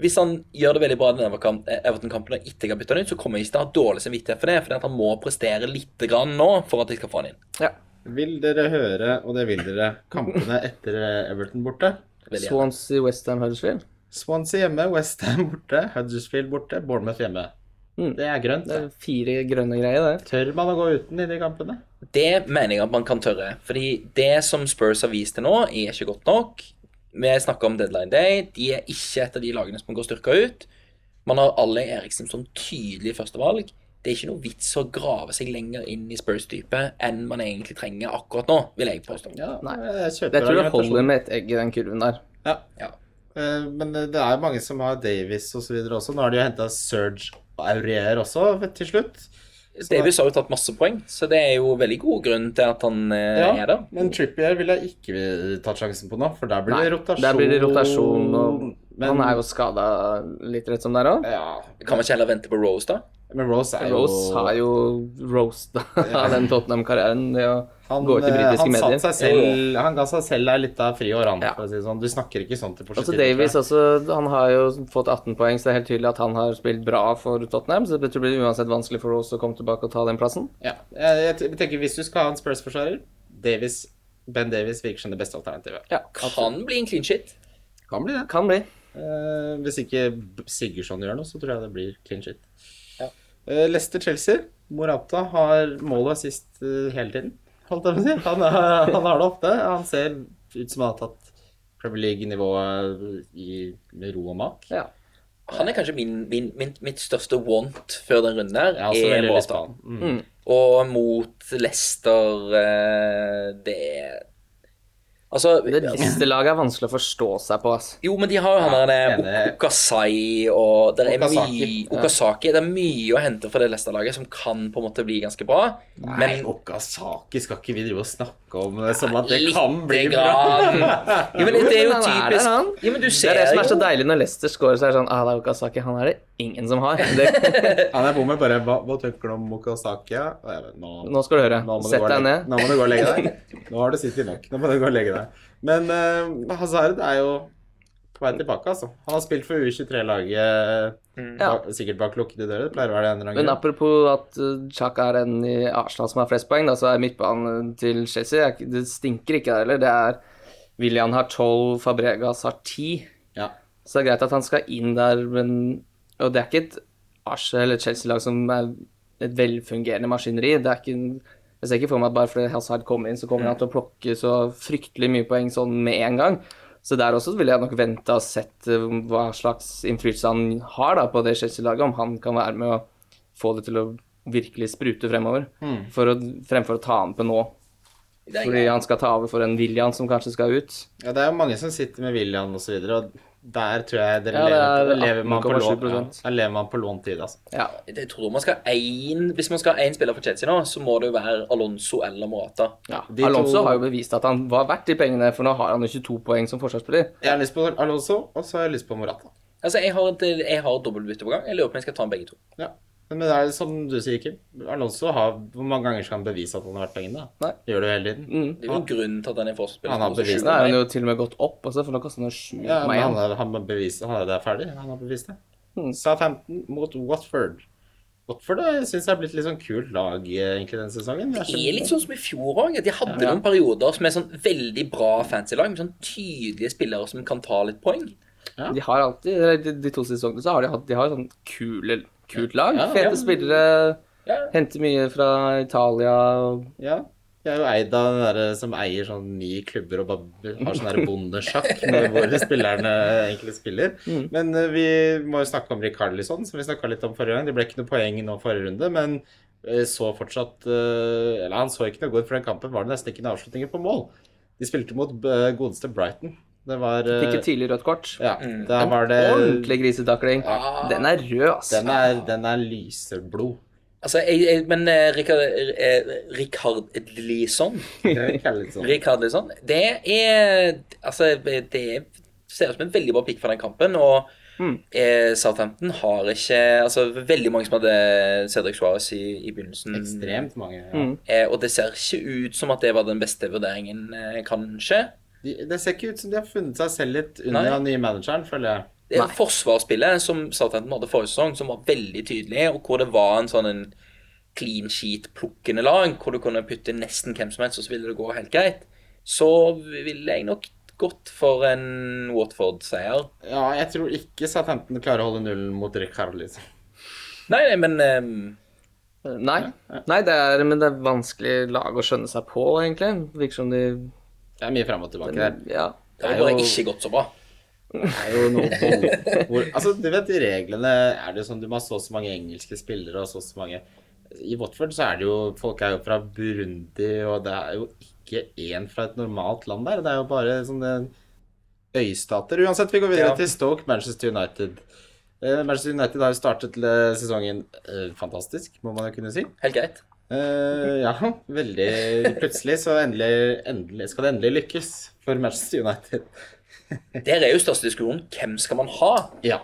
S2: Hvis han gjør det veldig bra i den Evercam- eh, Everton-kampen og ikke kan bytte han ut, så kommer jeg ikke til å ha dårlig samvittighet for det, fordi at han må prestere litt grann nå for at jeg skal få han inn.
S4: Ja.
S3: Vil dere høre, og det vil dere, kampene etter Everton borte?
S2: Veldig gjerne.
S4: Swansea, Westham, Huddersfield.
S3: Swansea hjemme, Westham borte, Huddersfield borte, Bournemouth hjemme.
S4: Mm.
S3: Det er grønt.
S4: Det er
S3: det.
S4: fire grønne greier der.
S3: Tør man å gå uten i de kampene?
S2: Det mener jeg at man kan tørre. Fordi det som Spurs har vist til nå, er ikke godt nok. Vi snakker om Deadline Day. De er ikke et av de lagene som går styrka ut. Man har alle Eriksen som tydelig førstevalg. Det er ikke noe vits å grave seg lenger inn i Spurs-dypet enn man egentlig trenger akkurat nå, vil jeg påstå.
S3: Ja,
S4: Nei.
S3: jeg kjøper
S4: Jeg tror det
S3: argumentasjonen.
S4: holder med ett egg i den kurven der.
S3: Ja.
S2: Ja.
S3: Eh, Men det er jo mange som har Davies og så videre også. Nå har de jo henta Serge Aurier også til slutt.
S2: Davies har jo tatt masse poeng, så det er jo veldig god grunn til at han eh, er der.
S3: men Trippier ville jeg ikke tatt sjansen på nå, for der blir
S4: Nei,
S3: det rotasjon.
S4: der blir det rotasjon, og
S3: Men-
S4: Han er jo skada litt rett som det er òg.
S3: Ja,
S2: Kan man ikke heller vente på Rose, da?
S3: men Rose er jo
S4: Rose har jo roasta av den Tottenham-karrieren. ved å-
S3: Han,
S4: går til
S3: eh,
S4: britiske
S3: han satt
S4: medier.
S3: Seg selv, han ga seg selv ei lita friår, han.
S4: Ja.
S3: For å si det sånn. Du snakker ikke sånn til
S4: Altså
S3: Pochettino,
S4: Davies
S3: tror jeg.
S4: altså, han har jo fått 18 poeng, så det er helt tydelig at han har spilt bra for Tottenham. Så det blir uansett vanskelig for Rose å komme tilbake og ta den plassen.
S3: Ja. Jeg, jeg t- tenker Hvis du skal ha en Spurs-forsvarer, Davies, Ben Davies virker som det beste alternativet.
S4: Ja,
S2: Kan bli en clean shit.
S3: Kan bli det.
S4: kan bli.
S3: Eh, hvis ikke B- Sigurdsson gjør noe, så tror jeg det blir clean shit.
S2: Ja.
S3: Eh, Leicester-Chelsea. Morata har mål og assist eh, hele tiden, holdt jeg på å si. Han, er, han har det ofte. Han ser ut som han har tatt Premier League-nivået i- med ro og mak.
S4: Ja.
S2: Han er kanskje min, min, min, mitt største want før den runden her.
S3: Jeg har også
S2: er
S3: veldig lyst
S2: Morata.
S3: på han. Mm.
S4: Mm.
S2: Og mot Leicester eh, Det er Altså
S4: Det siste laget er vanskelig å forstå seg på, ass.
S2: Jo, men de har jo han der
S3: enig.
S2: Ok- Okasai og der er
S3: Okasaki,
S2: mye-
S3: ja.
S2: Okasaki. Det er mye å hente fra det Leicester-laget som kan på en måte bli ganske bra.
S3: Men
S2: Men
S3: Okasaki skal ikke vi drive og snakke om eh, som at det
S2: Lite
S3: kan bli bra.
S2: grann. Jo, men det er jo
S4: Men han er der,
S2: typisk
S4: han.
S2: Jo, men du
S4: Det
S2: ser
S4: er det som er så
S2: jo-
S4: deilig når Leicester scorer, så er det sånn ah, det er Okazaki, han er det ingen som har. Det,
S3: Han er på med bare Hva, hva tenker du om Okasaki? ja?» Og jeg bare, Nå
S4: nå skal du høre.
S3: Nå må, du
S4: Sett
S3: gå og
S4: deg
S3: legge,
S4: ned.
S3: nå må du gå og legge deg. Nå har du sittet nok. Nå må du gå og legge deg. Men eh, Hazard er jo på vei tilbake, altså. Han har spilt for U23-laget
S4: Mm. Ja.
S3: bak- sikkert bak lukkede dører. Det pleier å være det en eller
S4: Men
S3: annen grunn.
S4: apropos at uh, Chaka er den i Arsenal som har flest poeng, da, så er midtbanen uh, til Chelsea er ikke- Det stinker ikke der heller. Det er William har tolv, Fabregas har ti.
S3: Ja.
S4: Så det er greit at han skal inn der, men Og det er ikke et Arsenal eller et Chelsea-lag som er et velfungerende maskineri. Det er ikke en jeg ser ikke for meg at bare fordi Hazard kommer inn, så kommer han til å plukke så fryktelig mye poeng sånn med en gang. Så der også ville jeg nok venta og sett eh, hva slags innflytelse han har da på det Chelsea-laget, om han kan være med å få det til å virkelig sprute fremover, for å, fremfor å ta han på nå.
S2: Mm. Det er-
S4: Fordi han skal ta over for en William som kanskje skal ut.
S3: ja, det er jo mange som sitter med William og så videre, og der tror jeg dere
S4: Ja, det er
S3: lever, lever man på lån.
S4: 18,7%.
S3: Ja, der lever man på låntid, altså.
S4: Ja.
S2: Jeg tror man skal ha én Hvis man skal ha én spiller for Chelsea nå, så må det jo være Alonso eller Morata.
S4: Ja,
S3: De
S4: Alonso
S3: to-
S4: har jo bevist at han var verdt de pengene, for nå har han jo 22 poeng som forsvarsspiller.
S3: Jeg har lyst på Alonso, og så har jeg lyst på Morata.
S2: Altså, jeg har, et, jeg har et dobbeltbytte på gang. Jeg lurer på om jeg skal ta dem begge to.
S3: Ja. Men det er som du sier, Kim. Alonso har Hvor mange ganger skal han bevise at han har vært pengene? da?
S4: Nei.
S3: Gjør det jo hele tiden.
S4: Mm.
S2: Det er jo en grunn til at han er fortsatt spiller.
S3: Han har bevis.
S4: Nå er han jo til og med gått opp også, for nå koster han 7
S3: Ja, men han,
S4: poeng.
S3: er, han, har bevist, han er der ferdig. Han har bevist det.
S2: Hmm.
S4: Mm.
S3: Southampton mot Watford. Watford syns jeg er blitt litt sånn kult lag eh, egentlig denne sesongen.
S2: Det er litt sånn som i fjor òg. De hadde noen perioder som er sånn veldig bra fancy lag, med sånn tydelige spillere som kan ta litt poeng.
S3: ja.
S4: De har alltid, eller de, de to siste sesongene så har de hatt de har sånn kule, kult lag.
S3: Ja,
S4: Fete
S3: ja.
S4: spillere,
S2: Ja.
S4: henter mye fra Italia. og-
S3: Ja. Jeg er jo eid av den der som eier sånn ni klubber og bare har sånn der bondesjakk med hvor spillerne egentlig spiller.
S4: Mm.
S3: Men eh, vi må jo snakke om Rikarlisson, som vi snakka litt om forrige gang. Det ble ikke noe poeng nå forrige runde, men eh, så fortsatt eh, Eller han så ikke noe godt for den kampen. Var det nesten ikke noen avslutninger på mål. De spilte mot eh, godeste Brighton. Det var eh,
S4: Fikk et tidlig rødt kort.
S3: Ja, der var det
S4: Ordentlig grisetakling. Den er rød, ass.
S3: Den er, den er lyseblod.
S2: Altså, jeg, jeg, men eh, Rikard, eh, Rikard Lisson
S3: Rikarlisson.
S2: Rikard Lisson, det er Altså, det ser ut som en veldig bra pick fra den kampen. og
S4: Mm.
S2: eh, Southampton har ikke Altså, veldig mange som hadde Cedric Suárez i, i begynnelsen.
S3: Ekstremt mange. Ja.
S4: Mm.
S2: Eh, og det ser ikke ut som at det var den beste vurderingen, eh, kanskje.
S3: De, det ser ikke ut som de har funnet seg selv litt
S2: Nei.
S3: under den nye manageren, føler jeg.
S2: Det er
S4: Nei.
S2: Eh, forsvarsspillet som Southampton hadde forrige sesong, som var veldig tydelig, og hvor det var en sånn en clean sheet-plukkende lag, hvor du kunne putte nesten hvem som helst, og så ville det gå helt greit. Så vil jeg nok godt for en Watford-seier.
S3: Ja, jeg tror ikke Southampton klarer å holde nullen mot Rick liksom. Harlis.
S2: Nei, nei, men ehm,
S4: Eh, Nei, nei det er, men det er vanskelig lag å skjønne seg på, egentlig. Virker som de
S3: Det er mye fram og tilbake der.
S4: Ja.
S2: det
S3: Det
S2: har
S3: er
S2: bare
S3: jo-
S2: ikke gått så bra.
S3: Det er jo noe hvor, hvor, altså, du vet, I reglene er det jo sånn du må ha så og så mange engelske spillere og så og så mange I Watford så er det jo Folk er jo fra Burundi, og det er jo ikke én fra et normalt land der. Det er jo bare sånne øystater. Uansett, vi går videre
S2: Ja.
S3: til Stoke, Manchester United. Eh, Manchester United har jo startet eh, sesongen eh, fantastisk, må man jo kunne si.
S2: Helt greit.
S3: Eh, ja, veldig plutselig så endelig, endelig skal det endelig lykkes for Manchester United.
S2: Der er jo største diskusjonen hvem skal man ha?
S3: Ja.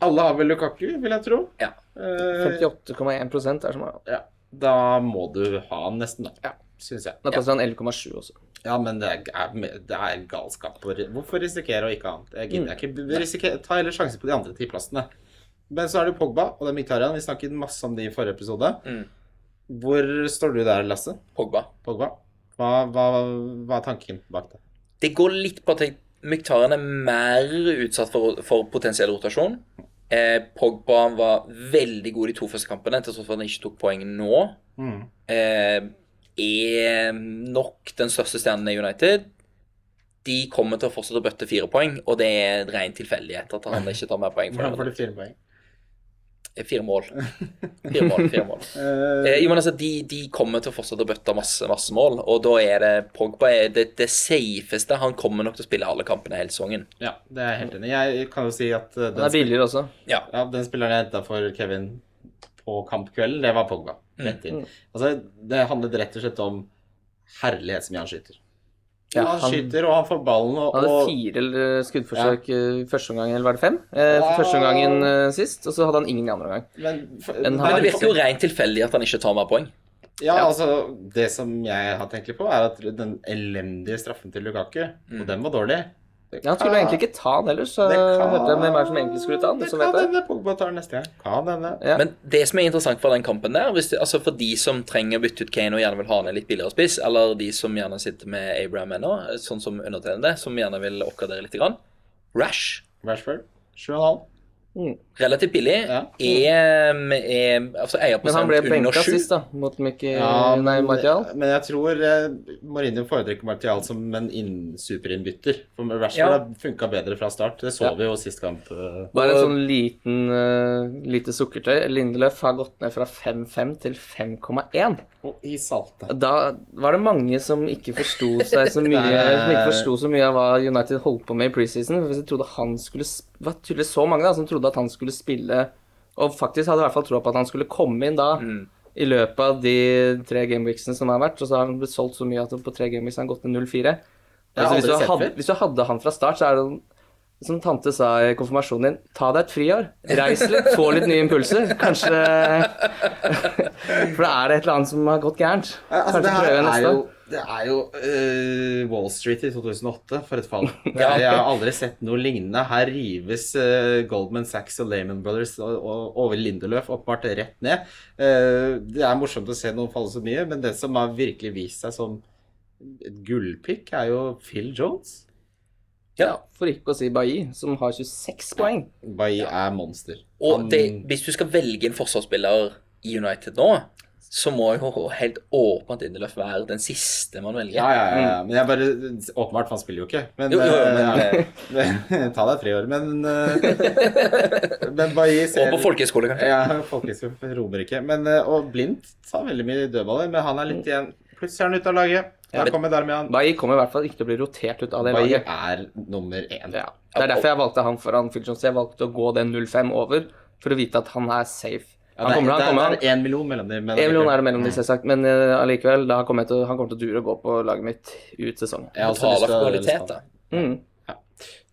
S3: Alle har vel Lukaku, vil jeg tro.
S2: Ja.
S3: Eh,
S4: 58,1 er som er
S3: ja. Da må du ha han nesten, da.
S4: Ja.
S3: Syns jeg.
S4: Da koster han 11,7 også.
S3: Ja, men det er, det er galskap. å ri- Hvorfor risikere å ikke ha han? Det gidder jeg ikke. Vi risikerer- Ta heller sjanse på de andre ti plassene. Men så er det Pogba og det er Mkhitaryan. Vi snakket masse om de i forrige episode.
S2: Mm.
S3: Hvor står du der, Lasse?
S2: Pogba.
S3: Pogba? Hva, hva, hva er tanken bak det?
S2: Det går litt på at Myktarien er mer utsatt for, for potensiell rotasjon. Eh, Pogba var veldig god de to første kampene, til tross for at han ikke tok poeng nå.
S3: Mm.
S2: eh, er nok den største stjernen i United. De kommer til å fortsette å bøtte fire poeng, og det er en ren tilfeldighet at han ikke tar mer poeng.
S3: Hvordan får
S2: For
S3: du fire poeng?
S2: det. Fire mål. Fire mål, fire mål. Eh, jo, men altså, de, de kommer til å fortsette å bøtte masse, masse mål, og da er det Pogba er det, det safeste. Han kommer nok til å spille alle kampene hele sesongen.
S3: Ja, det er jeg helt enig i. Jeg kan jo si at eh,
S4: Den
S3: den,
S4: er billigere også.
S2: Ja.
S3: ja, den spilleren jeg henta for Kevin på kampkvelden, det var Pogba.
S4: Mm.
S3: Rett inn. Altså, det handlet rett og slett om herlighet som han skyter.
S4: Ja,
S3: han,
S4: han-
S3: skyter, og han får ballen, og,
S4: Han hadde
S3: og
S4: fire eller skuddforsøk i første omgang, eller var det fem? Eh, for
S3: Wow.
S4: første omgangen eh, sist, og så hadde han ingen i andre omgang.
S3: men, f-
S4: Men
S2: Men
S4: han-
S2: det virker jo rent tilfeldig at han ikke tar mer poeng.
S3: Ja,
S4: Ja.
S3: altså, det som jeg har tenkt litt på, er at den elendige straffen til Lukaku, og den var dårlig Det
S4: Ja, han skulle egentlig ikke ta den ellers, så
S3: Ah. Det kan-
S4: hørte jeg hvem er det som egentlig skulle ta den.
S3: Det
S4: Så
S3: kan
S4: vet jeg.
S3: hende Pogba tar den neste gang. Kan hende.
S4: Ja.
S2: Men det som er interessant for den kampen der, hvis det, altså for de som trenger å bytte ut Kane og gjerne vil ha ned litt billigere spiss, eller de som gjerne sitter med Abraham ennå, sånn som undertegnede, som gjerne vil oppgradere litt, grann. Rash,
S3: Rashford, 7,5.
S2: relativt billig,
S3: Ja.
S2: er, er altså
S4: Men han ble
S2: eierprosent under
S4: benka
S2: sju.
S4: sist, da, mot Mickey
S3: Ja,
S4: Nei,
S3: men,
S4: Martial.
S3: men jeg tror eh, Mourinho foretrekker Martial som en inn- superinnbytter. For Rashford
S2: Ja.
S3: har funka bedre fra start. Det så
S4: Ja.
S3: vi jo sist kamp. eh.
S4: Bare en sånn liten eh, lite sukkertøy. Lindeløf har gått ned fra 5,5 til 5,1.
S3: Og i saltet.
S4: Da var det mange som ikke forsto seg så mye Som ikke forsto så mye av hva United holdt på med i preseason. For hvis de trodde han skulle sp- Det var tydeligvis så mange da som trodde at han skulle spille Og faktisk hadde i hvert fall troa på at han skulle komme inn da i løpet av de tre gameweeksene som har vært. Og så har han blitt solgt så mye at på tre gameweeks har han gått til 0-4. Altså,
S3: har aldri
S4: hvis, du
S3: sett
S4: hadde-
S3: før.
S4: hvis du hadde han fra start, så er det som tante sa i konfirmasjonen din, ta deg et friår. Reis litt, få litt nye impulser. Kanskje For da er det et eller annet som har gått gærent.
S3: Altså,
S4: Kanskje
S3: det her
S4: prøve
S3: er
S4: neste.
S3: jo, det er jo eh, Wall Street i 2008, for et fall.
S2: Ja.
S3: Jeg har aldri sett noe lignende. Her rives eh, Goldman Sachs og Lehman Brothers og, og over Lindeløf åpenbart rett ned. Eh, det er morsomt å se noen falle så mye, men det som har virkelig vist seg som et gullpikk, er jo Phil Jones.
S2: Ja.
S4: For ikke å si Bailly, som har 26 poeng.
S3: Bailly er monster.
S2: Og
S3: Han-
S2: det, hvis du skal velge en forsvarsspiller i United nå, så må jo helt åpent Inderløf være den siste man velger.
S3: ja, ja, ja, ja. Men jeg bare Åpenbart, for han spiller jo ikke. Men,
S2: Mm. Jo, jo, jo,
S3: eh, Ta deg friår, men eh, Men Bailly ser
S2: Og på folkehøyskole, kanskje.
S3: Ja, folkehøyskole på Romerike. Men, eh, og Blindt tar veldig mye dødballer, men han er litt igjen. Plutselig er han ute av laget.
S4: Mm. Ja,
S3: Der
S4: men-
S3: kommer Darmian.
S4: Bailly kommer i hvert fall ikke til å bli rotert ut av det
S3: Bailly
S4: laget.
S3: er nummer én.
S4: Ja. Det er derfor jeg valgte han foran Phil Jones. Jeg valgte å gå den 0-5 over for å vite at han er safe. Han
S3: Ja, det, er-
S4: kommer,
S3: det,
S4: han kommer,
S3: er- det er én million mellom dem. men
S4: En million er
S3: allikevel.
S4: det mellom de, selvsagt, men eh, allikevel, da kommer jeg til, han kommer til å dure å gå på laget mitt ut sesongen.
S3: Jeg har også lyst til
S2: Betaler for
S3: å-
S2: kvalitet, da.
S4: Mm.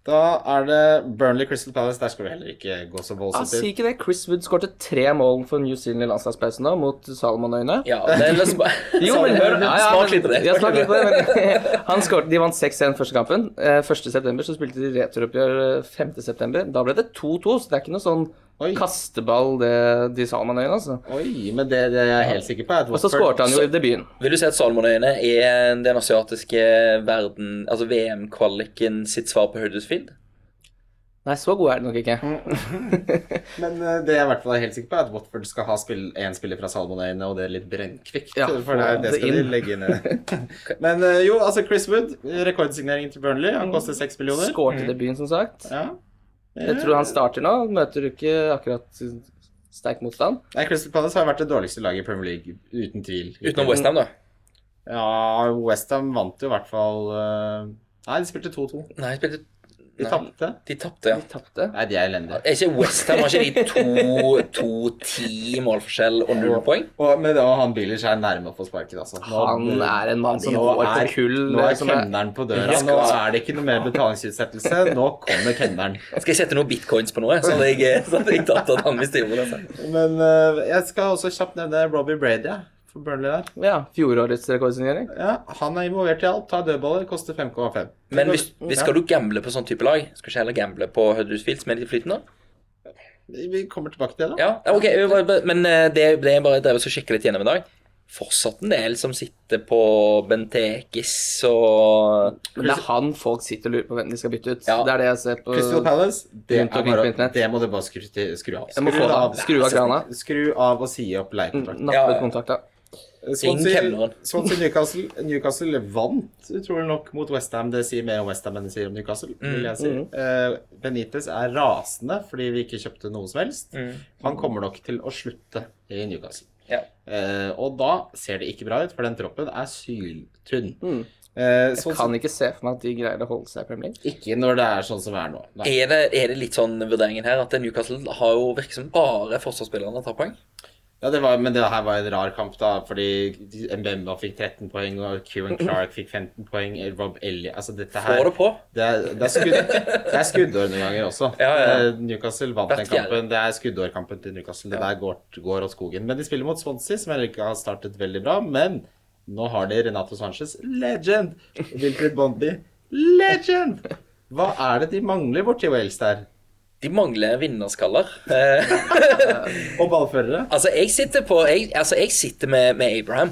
S3: Da er det Burnley Crystal Palace. Der skal vi heller ikke gå så
S4: Ja,
S3: voldsomt
S4: si
S3: til.
S4: Ah, ikke det. Chris Wood skårte tre mål for New Zealand i landslagspausen nå, mot Salomon-øyene.
S2: Ja, det er liksom bare...
S4: hør,
S2: Snak litt på det.
S4: Ja, smak litt på det, men han skårte, De vant 6-1 første kampen. Eh, 1. september så spilte de returoppgjør eh, 5. september. Da ble det 2-2, så det er ikke noe sånn
S3: Oi.
S4: Kasteball, det de Salmanøyene, altså.
S3: Oi, men det, det er jeg helt sikker på. er at
S4: Og så
S3: Watford-
S4: skårte han jo i debuten.
S2: Vil du si at Salomonøyene er eh, den asiatiske verden, altså VM-kvaliken sitt svar på Huddersfield?
S4: Nei, så god er det nok ikke.
S3: Men eh, det jeg i hvert fall er helt sikker på, er at Watford skal ha spill, en spiller fra Salmonøyene, og det er litt brennkvikt.
S4: Ja,
S3: for det, er- det
S4: det
S3: skal de
S4: inn.
S3: legge ned. Men eh, jo, altså Chris Wood, rekordsigneringen til Burnley, han koster seks millioner.
S4: Skårte i debuten, som sagt.
S3: Ja.
S4: Jeg tror han starter nå. Møter jo ikke akkurat sterk motstand.
S3: Nei, Crystal Palace har vært det dårligste laget i Premier League, uten tvil.
S2: Utenom Westham, da.
S3: Ja, Westham vant jo i hvert fall eh, Nei, de spilte 2-2.
S2: Nei, de spilte
S3: De
S2: Nei,
S3: tapte.
S2: De tapte, ja.
S4: De tapte.
S3: Nei, de er elendige.
S2: Er ikke Westham har ikke de to, to ti målforskjell og null poeng?
S3: Og, men og han Billers er nærme å få sparken, altså. Nå-
S4: Han er en mann
S3: altså,
S4: som
S3: nå
S4: går
S3: er-
S4: på kull. eh,
S3: Nå er
S4: som er-
S3: kemneren på døra. Nå er det ikke noe mer betalingsutsettelse. Nå kommer kemneren.
S2: Skal jeg sette noen bitcoins på noe, sånn at jeg, sånn at jeg tapte at han visste ordet? altså?
S3: Men eh, jeg skal også kjapt nevne Robbie Brady ja, for Burnley der.
S4: Ja, fjorårets rekordsignering.
S3: Ja, han er involvert i alt. Tar dødballer, koster 5,5.
S2: Men hvis, hvis skal du gamble på sånn type lag, skal du ikke heller gamble på Huddersfield, som er litt flytende?
S3: Ja, Vi kommer tilbake til det, da.
S2: Ja, ja, ok, jeg bare- bare- men eh, det, det jeg bare drev og sjekket litt gjennom i dag Fortsatt en del som sitter på Bentekis og
S4: Men det er han folk sitter og lurer på hvem de skal bytte ut.
S2: Ja.
S4: Det er det jeg ser på.
S3: Crystal Palace,
S4: Rundt
S3: det, er
S4: omkring på
S3: bare,
S4: internett.
S3: det må du bare skru, til- skru av. Altså,
S4: Jeg må få det av. Skru av krana.
S3: Skru av og si opp leiekontrakten.
S2: Ja, ja.
S4: Nappe ut kontakta.
S3: Sånn Swansea
S2: kemneren.
S3: Swansea Newcastle, Newcastle vant utrolig nok mot Westham. Det sier mer om Westham enn det sier om Newcastle. vil jeg si. Eh, Benitez er rasende fordi vi ikke kjøpte noe som helst. Han kommer nok til å slutte i Newcastle.
S2: ja.
S3: Eh, og da ser det ikke bra ut, for den troppen er syltynn.
S4: Mm.
S3: Eh,
S4: Jeg
S3: sånn,
S4: kan ikke se for meg at de greier å holde seg i Premier League.
S3: ikke når det er sånn som det er nå. Nei.
S2: er, det, er det litt sånn vurderingen her at Newcastle har jo virker som bare forsvarsspillerne tar poeng?
S3: Ja, det var, men det her var en rar kamp, da, fordi Mbemba fikk 13 poeng, og Kieran Clark fikk 15 poeng, Rob Ellie Altså, dette her
S2: Får det på?
S3: Det er, det er, skudd, det er skuddår noen ganger også.
S2: Ja, ja, ja.
S3: Eh, Newcastle vant
S2: Hvert
S3: den kampen. Det er skuddårkampen til Newcastle. Det der går, går åt skogen. Men de spiller mot Swansea, som heller ikke har startet veldig bra. Men nå har de Renato Sanchez, legend! Wilfred Bondi, legend! Hva er det de mangler borti Wales der?
S2: De mangler vinnerskaller. Eh,
S3: Og ballførere?
S2: altså, jeg sitter, på, jeg, altså, jeg sitter med, med Abraham.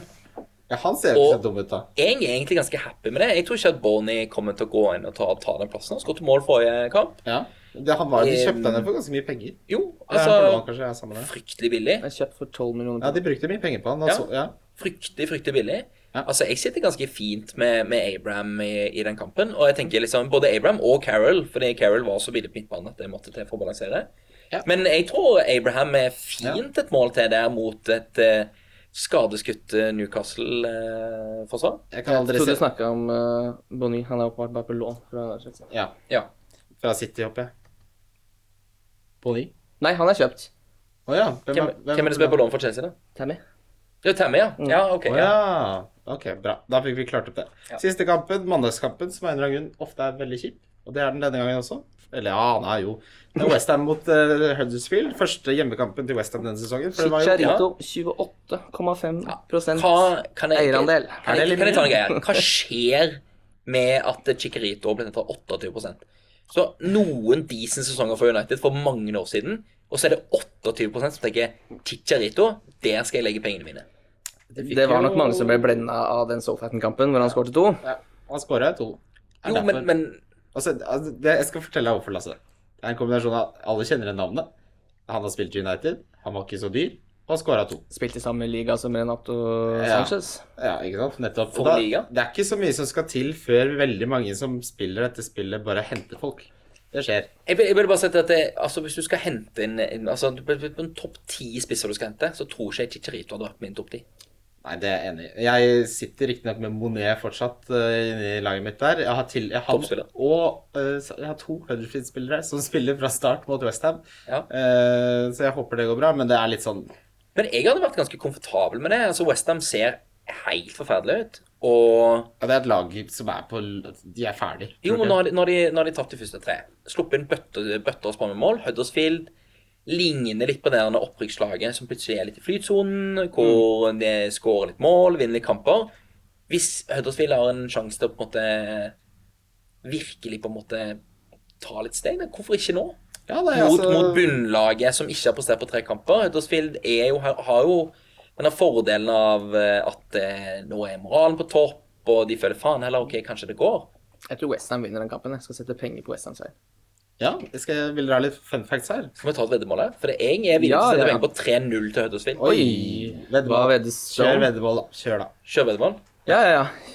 S3: Ja, han ser jo ikke
S2: Og-
S3: så dum ut, da.
S2: Jeg er egentlig ganske happy med det. Jeg tror ikke at Bonnie kommer til å gå inn og ta, ta den plassen. Han skåret mål forrige kamp.
S3: Ja. Det, han var, de kjøpte
S2: Eh,
S3: henne for ganske mye penger.
S2: Jo,
S3: Det er en forlån,
S2: altså
S3: kanskje, jeg er sammen med det.
S2: Fryktelig billig.
S4: Jeg er kjøpt for 12 millioner.
S3: Ja, de brukte mye penger på han.
S2: Ja.
S3: Altså, ja.
S2: fryktelig, fryktelig billig.
S3: Ja.
S2: Altså, Jeg sitter ganske fint med, med Abraham i, i den kampen. Og jeg tenker liksom både Abraham og Carol, fordi Carol var så billig på midtbanen at jeg måtte til for å balansere.
S3: Ja.
S2: Men jeg tror Abraham er fint et mål til der mot et eh, skadeskutt eh, Newcastle-forsvar.
S3: Jeg kan aldri
S4: Jeg trodde
S3: se
S4: du snakka om uh, Bonny. Han er åpenbart bare på lån. Fra Chelsea.
S3: Ja.
S2: ja.
S3: Fra City, håper jeg. Boni?
S4: Nei, han er kjøpt.
S3: Å ja. Hvem,
S2: Hvem, hvem er det som er på lån for Chelsea, da?
S4: Tammy.
S2: Ja, Tammy, ja. Ja, ok.
S3: Å
S2: Ja.
S3: ja. Ok, bra. Da fikk vi klart opp det. Siste kampen, mandagskampen, som av en eller annen grunn ofte er veldig kjip. Og det er den denne gangen også. Eller ja, nei, jo. Det er Westham mot eh, Huddersfield. Første hjemmekampen til Westham denne sesongen. For det var jo
S4: Chicharito 28,5
S2: Hva, kan jeg,
S4: eierandel.
S2: Kan jeg, kan jeg ta en greie? Hva skjer med at Chicarito ble tatt 28 Så noen decent sesonger for United for mange år siden, og så er det 28 som tenker Chicharito, der skal jeg legge pengene mine.
S3: fikk
S4: Det var
S3: jo-
S4: nok mange som ble blenda av den Southampton-kampen hvor han skårte to.
S3: Ja, han skåra to. Er
S2: Jo, men,
S3: derfor-
S2: men
S3: Altså, altså, det, jeg skal fortelle deg hvorfor, Lasse. Det er en kombinasjon av Alle kjenner igjen navnet. Han har spilt i United. Han var ikke så dyr. Og han skåra to.
S4: Spilte i samme liga som Renato
S3: Ja.
S4: Sanchez.
S3: Ja, ikke sant? Nettopp.
S2: For
S3: Og da,
S2: liga.
S3: det er ikke så mye som skal til før veldig mange som spiller dette spillet, bare henter folk. Det skjer.
S2: jeg vil, jeg vil bare si at det, altså, hvis du skal hente inn inn- altså, du- På på en topp ti spisser du skal hente, så tror ikke jeg Chicharito hadde vært min topp ti.
S3: Nei, det er jeg enig i. Jeg sitter riktignok med Monet fortsatt uh, inni laget mitt der. Jeg har, til, jeg har,
S2: Toppspiller.
S3: og, eh, så- jeg har to Huddersfield-spillere som spiller fra start mot Westham.
S2: Ja.
S3: så jeg håper det går bra, men det er litt sånn
S2: Men jeg hadde vært ganske komfortabel med det. altså Westham ser helt forferdelig ut. Og
S3: ja, Det er et lag som er på l- De er ferdig.
S2: Jo,
S3: Tror
S2: men
S3: du ikke?
S2: nå har de, nå har de, nå har de tapt de første tre. Sluppet inn bøtter, bøtter og spann med mål. Huddersfield ligner litt på det der opprykkslaget som plutselig er litt i flytsonen, hvor
S3: Mm.
S2: de skårer litt mål, vinner litt kamper. Hvis Huddersfield har en sjanse til å på en måte virkelig på en måte ta litt steg, da, hvorfor ikke nå?
S3: Ja, nei,
S2: mot,
S3: altså-
S2: mot bunnlaget som ikke har prestert på tre kamper. Huddersfield er jo, har, har jo denne fordelen av eh, at eh, nå er moralen på topp, og de føler faen heller OK, kanskje det går.
S4: Jeg tror Westham vinner den kampen. Jeg skal sette penger på Westhams vei.
S3: Ja, jeg skal, vil dere ha litt fun facts her?
S2: Skal vi ta et veddemål her? For det er jeg er villig til
S4: Ja,
S2: å sette
S4: ja.
S2: penger på 3-0 til Huddersfield.
S4: Oi! Hva
S3: Veddemål.
S4: veddes
S3: Kjør veddemål, da. Kjør, da.
S2: Kjør veddemål.
S4: Ja, ja, ja.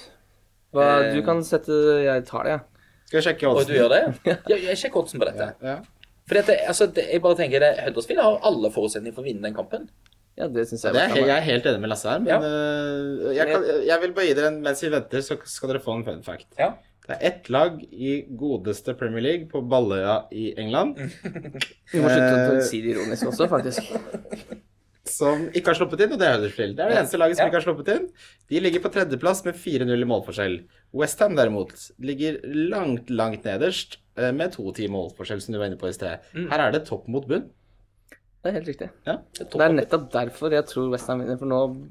S4: Hva,
S2: Eh.
S4: du kan sette Jeg tar det, jeg.
S3: Skal vi sjekke
S2: Og
S3: oddsen?
S2: du gjør det? Ja, jeg sjekk oddsen på dette.
S3: Ja.
S2: For dette, altså, det, jeg bare tenker det, Huddersfield har alle forutsetninger for å vinne den kampen.
S4: Ja, det syns
S3: Ja,
S4: jeg.
S3: det er,
S4: West
S3: he-
S4: Ham
S3: jeg
S4: har.
S3: er helt enig med Lasse her, men
S2: Ja.
S3: øh, jeg, kan, jeg vil bare gi dere en Mens vi venter, så skal dere få en fun fact.
S2: Ja.
S3: Det er ett lag i godeste Premier League på Balløya i England
S2: Mm.
S4: Vi må slutte
S3: Eh.
S4: å si det ironisk også, faktisk.
S3: som ikke har sluppet inn, og det er Huddersfield. Det er det eneste laget som
S2: Ja.
S3: ikke har sluppet inn. De ligger på tredjeplass med 4-0 i målforskjell. Westham derimot ligger langt, langt nederst eh, med to ti målforskjell, som du var inne på i sted.
S2: Mm.
S3: Her er det topp mot bunn.
S4: Det er helt riktig.
S2: Det er topp.
S4: Det er nettopp derfor jeg tror Westham vinner, for nå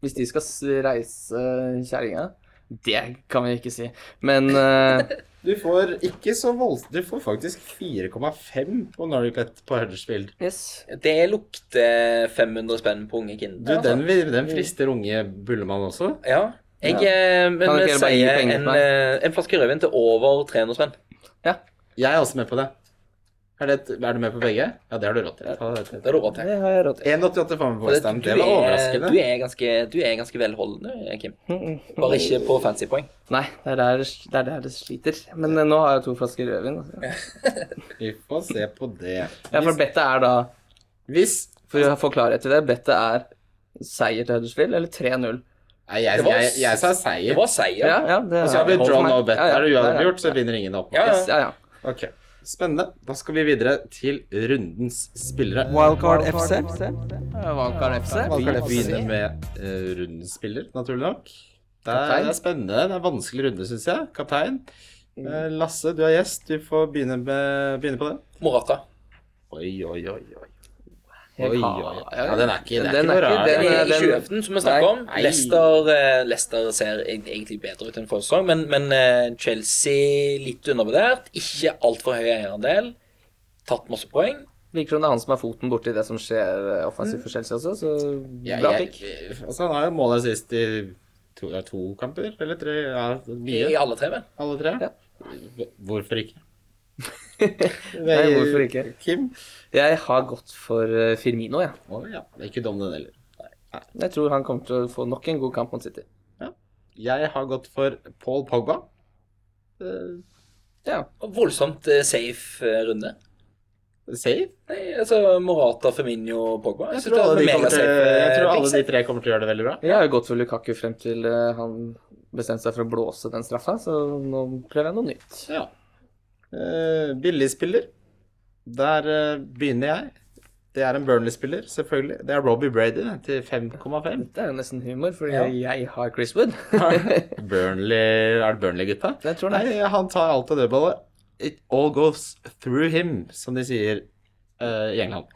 S4: Hvis de skal s- reise kjerringa Det kan vi ikke si, men eh,
S3: Du får ikke så voldsomt Du får faktisk 4,5 på Norway Bet på Huddersfield.
S4: Yes.
S2: Det lukter 500 spenn på unge
S3: Du,
S2: kinder. altså.
S3: den, vil- den frister unge Bullemann også.
S2: Ja. Jeg eh, men
S4: Kan dere
S2: jeg
S4: bare gi
S2: sier
S4: penger
S2: en,
S4: for meg?
S2: eh, en flaske rødvin til over 300 spenn.
S3: Jeg er også med på det. Er, det et, er du med på begge? Ja, det har du råd til. Ta det til.
S2: Det er du råd til.
S4: Det har jeg råd til.
S3: 1,88 får vi på
S2: Og det-
S3: Westham.
S2: du
S3: Det var
S2: er- Du
S3: overraskende.
S2: er ganske, du er ganske velholdende, Kim.
S4: Mm, mm.
S2: Bare ikke på fancy poeng.
S4: Nei, det er der det, er der det sliter. Men eh, nå har jeg to flasker rødvin. altså.
S3: Vi får se på det.
S4: Ja, for
S3: Hvis,
S4: bettet er da
S3: hvis
S4: For å få klarhet i det, bettet er seier til Huddersfield eller 3-0.
S3: Nei, jeg,
S2: Det var-
S3: jeg, jeg, sa
S2: Det
S3: seier.
S2: var seier.
S4: Ja, ja, det
S3: Og så har vi
S4: det holder
S3: draw
S4: for meg.
S3: no bet.
S4: Ja, ja,
S3: Er det
S4: ja, ja.
S3: uavgjort, så vinner ingen opp.
S2: Ja, ja.
S4: Yes, ja, ja.
S3: Ok, Spennende. Da skal vi videre til rundens spillere.
S1: Wildcard FC.
S4: Valkar FC.
S3: Vi
S1: Valkar FC.
S3: begynner med eh, rundens spiller, naturlig nok. Det er,
S4: Kaptein.
S3: det er spennende. Det er en vanskelig runde, syns jeg. Kaptein. Eh, Lasse, du er gjest. Du får begynne, med, begynne på det.
S2: Morata.
S3: Oi, oi, oi. oi.
S4: Jeg
S3: Oi,
S4: har-
S3: oi, oi. Ja, den er ikke, det
S4: Den
S3: er ikke
S4: er
S3: noe
S4: ikke-
S3: rar.
S2: I
S4: den er-
S2: i 2015, som vi snakket om.
S3: Nei.
S2: eh, Leicester, eh, Leicester ser eg- egentlig bedre ut enn forrige sesong, men, men eh, Chelsea litt undervurdert. Ikke altfor høy eierandel. Tatt masse poeng.
S4: Virker som det er han som har foten borti det som skjer eh, offensivt for Chelsea også, så
S3: Ja,
S4: bra
S3: jeg-
S4: pick.
S3: altså, han har jo måla sist i to, ja, to kamper, eller tre? Ja,
S2: I
S3: mye.
S2: alle tre, vel.
S3: Alle tre?
S4: Ja.
S3: Hvorfor ikke?
S4: Nei, hvorfor ikke?
S3: Kim?
S4: Jeg har gått for eh, Firmino, jeg.
S3: Å ja. Det er ikke dum, den heller.
S4: Jeg tror han kommer til å få nok en god kamp mot City.
S3: Jeg har gått for Paul Pogba. Eh,
S4: Ja.
S2: Og Voldsomt eh, safe eh, runde.
S3: safe.
S2: Nei, altså Morata, Firmino og Pogba.
S3: Jeg
S2: Jeg
S3: tror,
S2: synes
S3: alle
S2: det
S3: de
S2: er
S3: kommer til,
S2: megasafe, eh,
S3: jeg tror alle
S2: picks,
S3: de tre kommer til å gjøre det veldig bra.
S4: Jeg har jo gått for Lukaku frem til eh, han bestemte seg for å blåse den straffa, så nå prøver jeg noe nytt.
S3: Ja. Eh, Billigspiller. Der eh, begynner jeg. Det er en Burnley-spiller, selvfølgelig. Det er Robbie Brady det, til 5,5.
S4: Dette er jo nesten humor, fordi jeg har Chris Wood.
S3: Burnley Er det Burnley-gutta?
S4: Jeg tror det.
S3: Nei, han tar alt av dødballet. It all goes through him, som de sier eh, i England.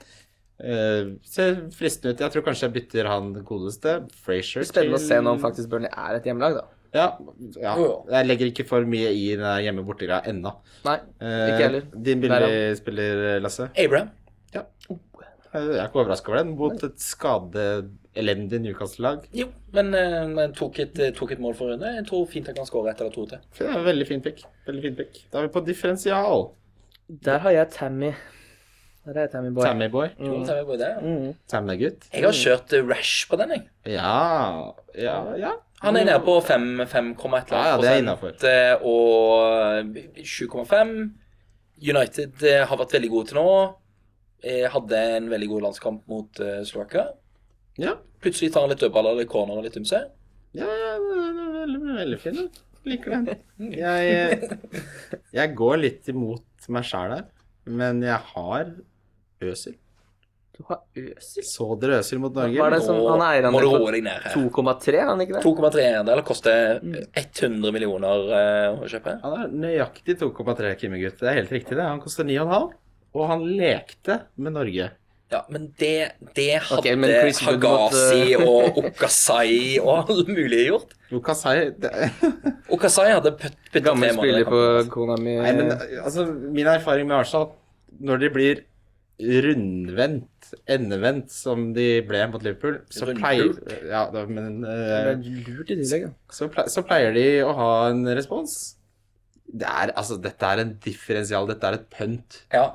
S3: Eh, ser fristende ut. Jeg tror kanskje jeg bytter han godeste, Frazier.
S4: Spennende å se nå om faktisk Burnley er et hjemmelag, da.
S3: Ja, ja.
S2: Jo,
S3: Jeg legger ikke for mye i den der hjemme borte-greia ennå.
S4: Nei,
S3: Eh,
S4: Ikke heller.
S3: Din billigspiller, Lasse.
S2: Abraham.
S3: Jeg er ikke overraska over den mot et skadeelendig Newcastle-lag.
S2: Jo, men eh, men tok, et, tok et mål for runde. Jeg tror fint han kan skåre ett eller to til.
S3: Det er en Veldig fin pick. Veldig fin pick. Da er vi på differensial.
S4: der har jeg Tammy. Der er jeg Tammy Boy.
S3: Tammy-boy.
S2: Tror du det er en god idé?
S4: Mm.
S3: Tammy-gutt.
S2: Jeg har kjørt eh, Rash på den, jeg.
S3: Ja, ja, ja.
S2: Han er nede på 5, 5, et eller annet
S3: Ja, ja, det er
S2: prosent, eh, og 7,5. United eh, har vært veldig gode til nå. Eh, Hadde en veldig god landskamp mot eh, Slovakia.
S3: Ja.
S2: Plutselig tar han litt dødballer, litt corner og litt ymse.
S3: Ja, ja, den er veldig, veldig fin. da. Liker den. Jeg, eh, jeg går litt imot meg sjæl her, men jeg har Øsil.
S4: Du har Øsil.
S3: Så dere Øsil mot Norge?
S4: Hva er det
S2: Nå
S4: som han er eier
S2: må du roe
S4: på
S2: deg ned her.
S4: 2,3, er han ikke det?
S2: 2,3 eiendeler koster 100 millioner eh, å kjøpe.
S3: Han er nøyaktig 2,3 Kimme-gutt. Det er helt riktig, det. Han koster 9,5. Og han lekte med Norge.
S2: Ja, men det, det hadde
S4: Ok, men Chris Wood
S2: Hagazi og Okasai og alle mulige gjort.
S3: Lucas Hei det-
S2: Okasai hadde putt- puttet
S4: Gammel
S2: tre mål i
S4: spiller på
S2: kampen.
S4: kona mi.
S3: eh, Nei, men altså, min erfaring med Arsenal når de blir rundvendt, endevendt, som de ble mot Liverpool, så pleier,
S2: Rundpult?
S3: ja, da, men,
S4: Det
S3: eh,
S4: er lurt i tillegg, ja.
S3: så, pleier, så pleier de å ha en respons. Det er, altså, dette er en differensial, dette er et pønt.
S2: Ja.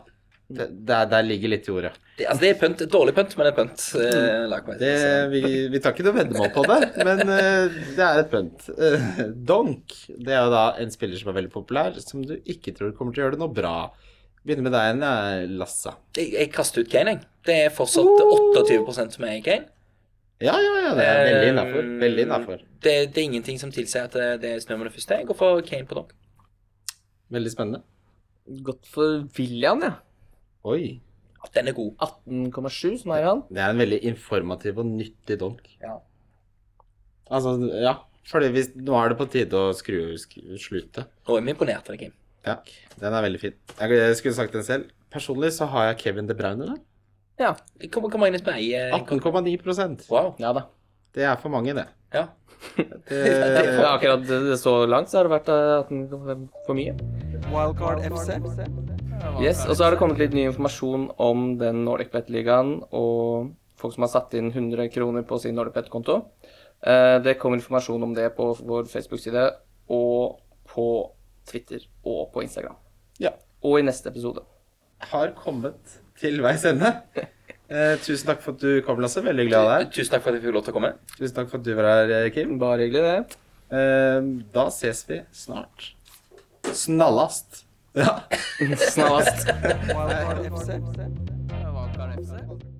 S3: Det, der, der ligger litt i ordet.
S2: Det, altså, det er pønt. Et dårlig pønt, men et pønt. Eh,
S3: Mm.
S2: likewise.
S3: Det, vi, vi tar ikke noe veddemål på det, men eh, det er et pønt. Eh, Donk det er jo da en spiller som er veldig populær, som du ikke tror kommer til å gjøre det noe bra. Begynner med deg igjen, eh, Lassa.
S2: Jeg, jeg kaster ut Kane, jeg. Det er fortsatt 28 som er Kane.
S3: Ja, ja, ja, det er veldig innafor.
S2: Eh,
S3: Veldig innafor.
S2: Det, det er ingenting som tilsier at det, det snur med det første. Jeg går for Kane på donk.
S3: Veldig spennende.
S4: Godt for William, ja.
S3: Oi.
S2: Ja, den er god.
S4: 18,7, som er han.
S3: Det er en veldig informativ og nyttig donk.
S2: Ja.
S3: Altså, ja. Fordi hvis, nå er det på tide å skru skru- slutte.
S2: Nå er vi imponert av deg, Kim.
S3: Ja, den er veldig fin. Jeg skulle sagt den selv. Personlig så har jeg Kevin De Bruyne der.
S4: Ja.
S2: Kommer kom inn i
S3: Ah.
S2: speilet.
S3: 18,9
S2: Wow.
S4: ja da.
S3: Det er for mange, det.
S2: Ja.
S3: det Eh,
S4: Ja, akkurat det- det så langt så har det vært eh, 18,5 for mye.
S1: Wildcard FC.
S4: Yes, Og så har det kommet litt ny informasjon om den Nordic Bet-ligaen og folk som har satt inn 100 kroner på sin Nordic Bet-konto. Eh, Det kommer informasjon om det på vår Facebook-side og på Twitter og på Instagram.
S3: Ja.
S4: Og i neste episode.
S3: har kommet til veis ende. Eh, tusen takk for at du kom, Lasse. Veldig hyggelig å ha deg her.
S2: Tusen takk for at jeg fikk lov til å komme.
S3: Tusen takk for at du var her, eh, Kim.
S4: Bare hyggelig, det.
S3: Eh, da ses vi snart. Snallast. Ja.
S4: Snarest.
S1: Wildcard FC.
S4: Hva er det?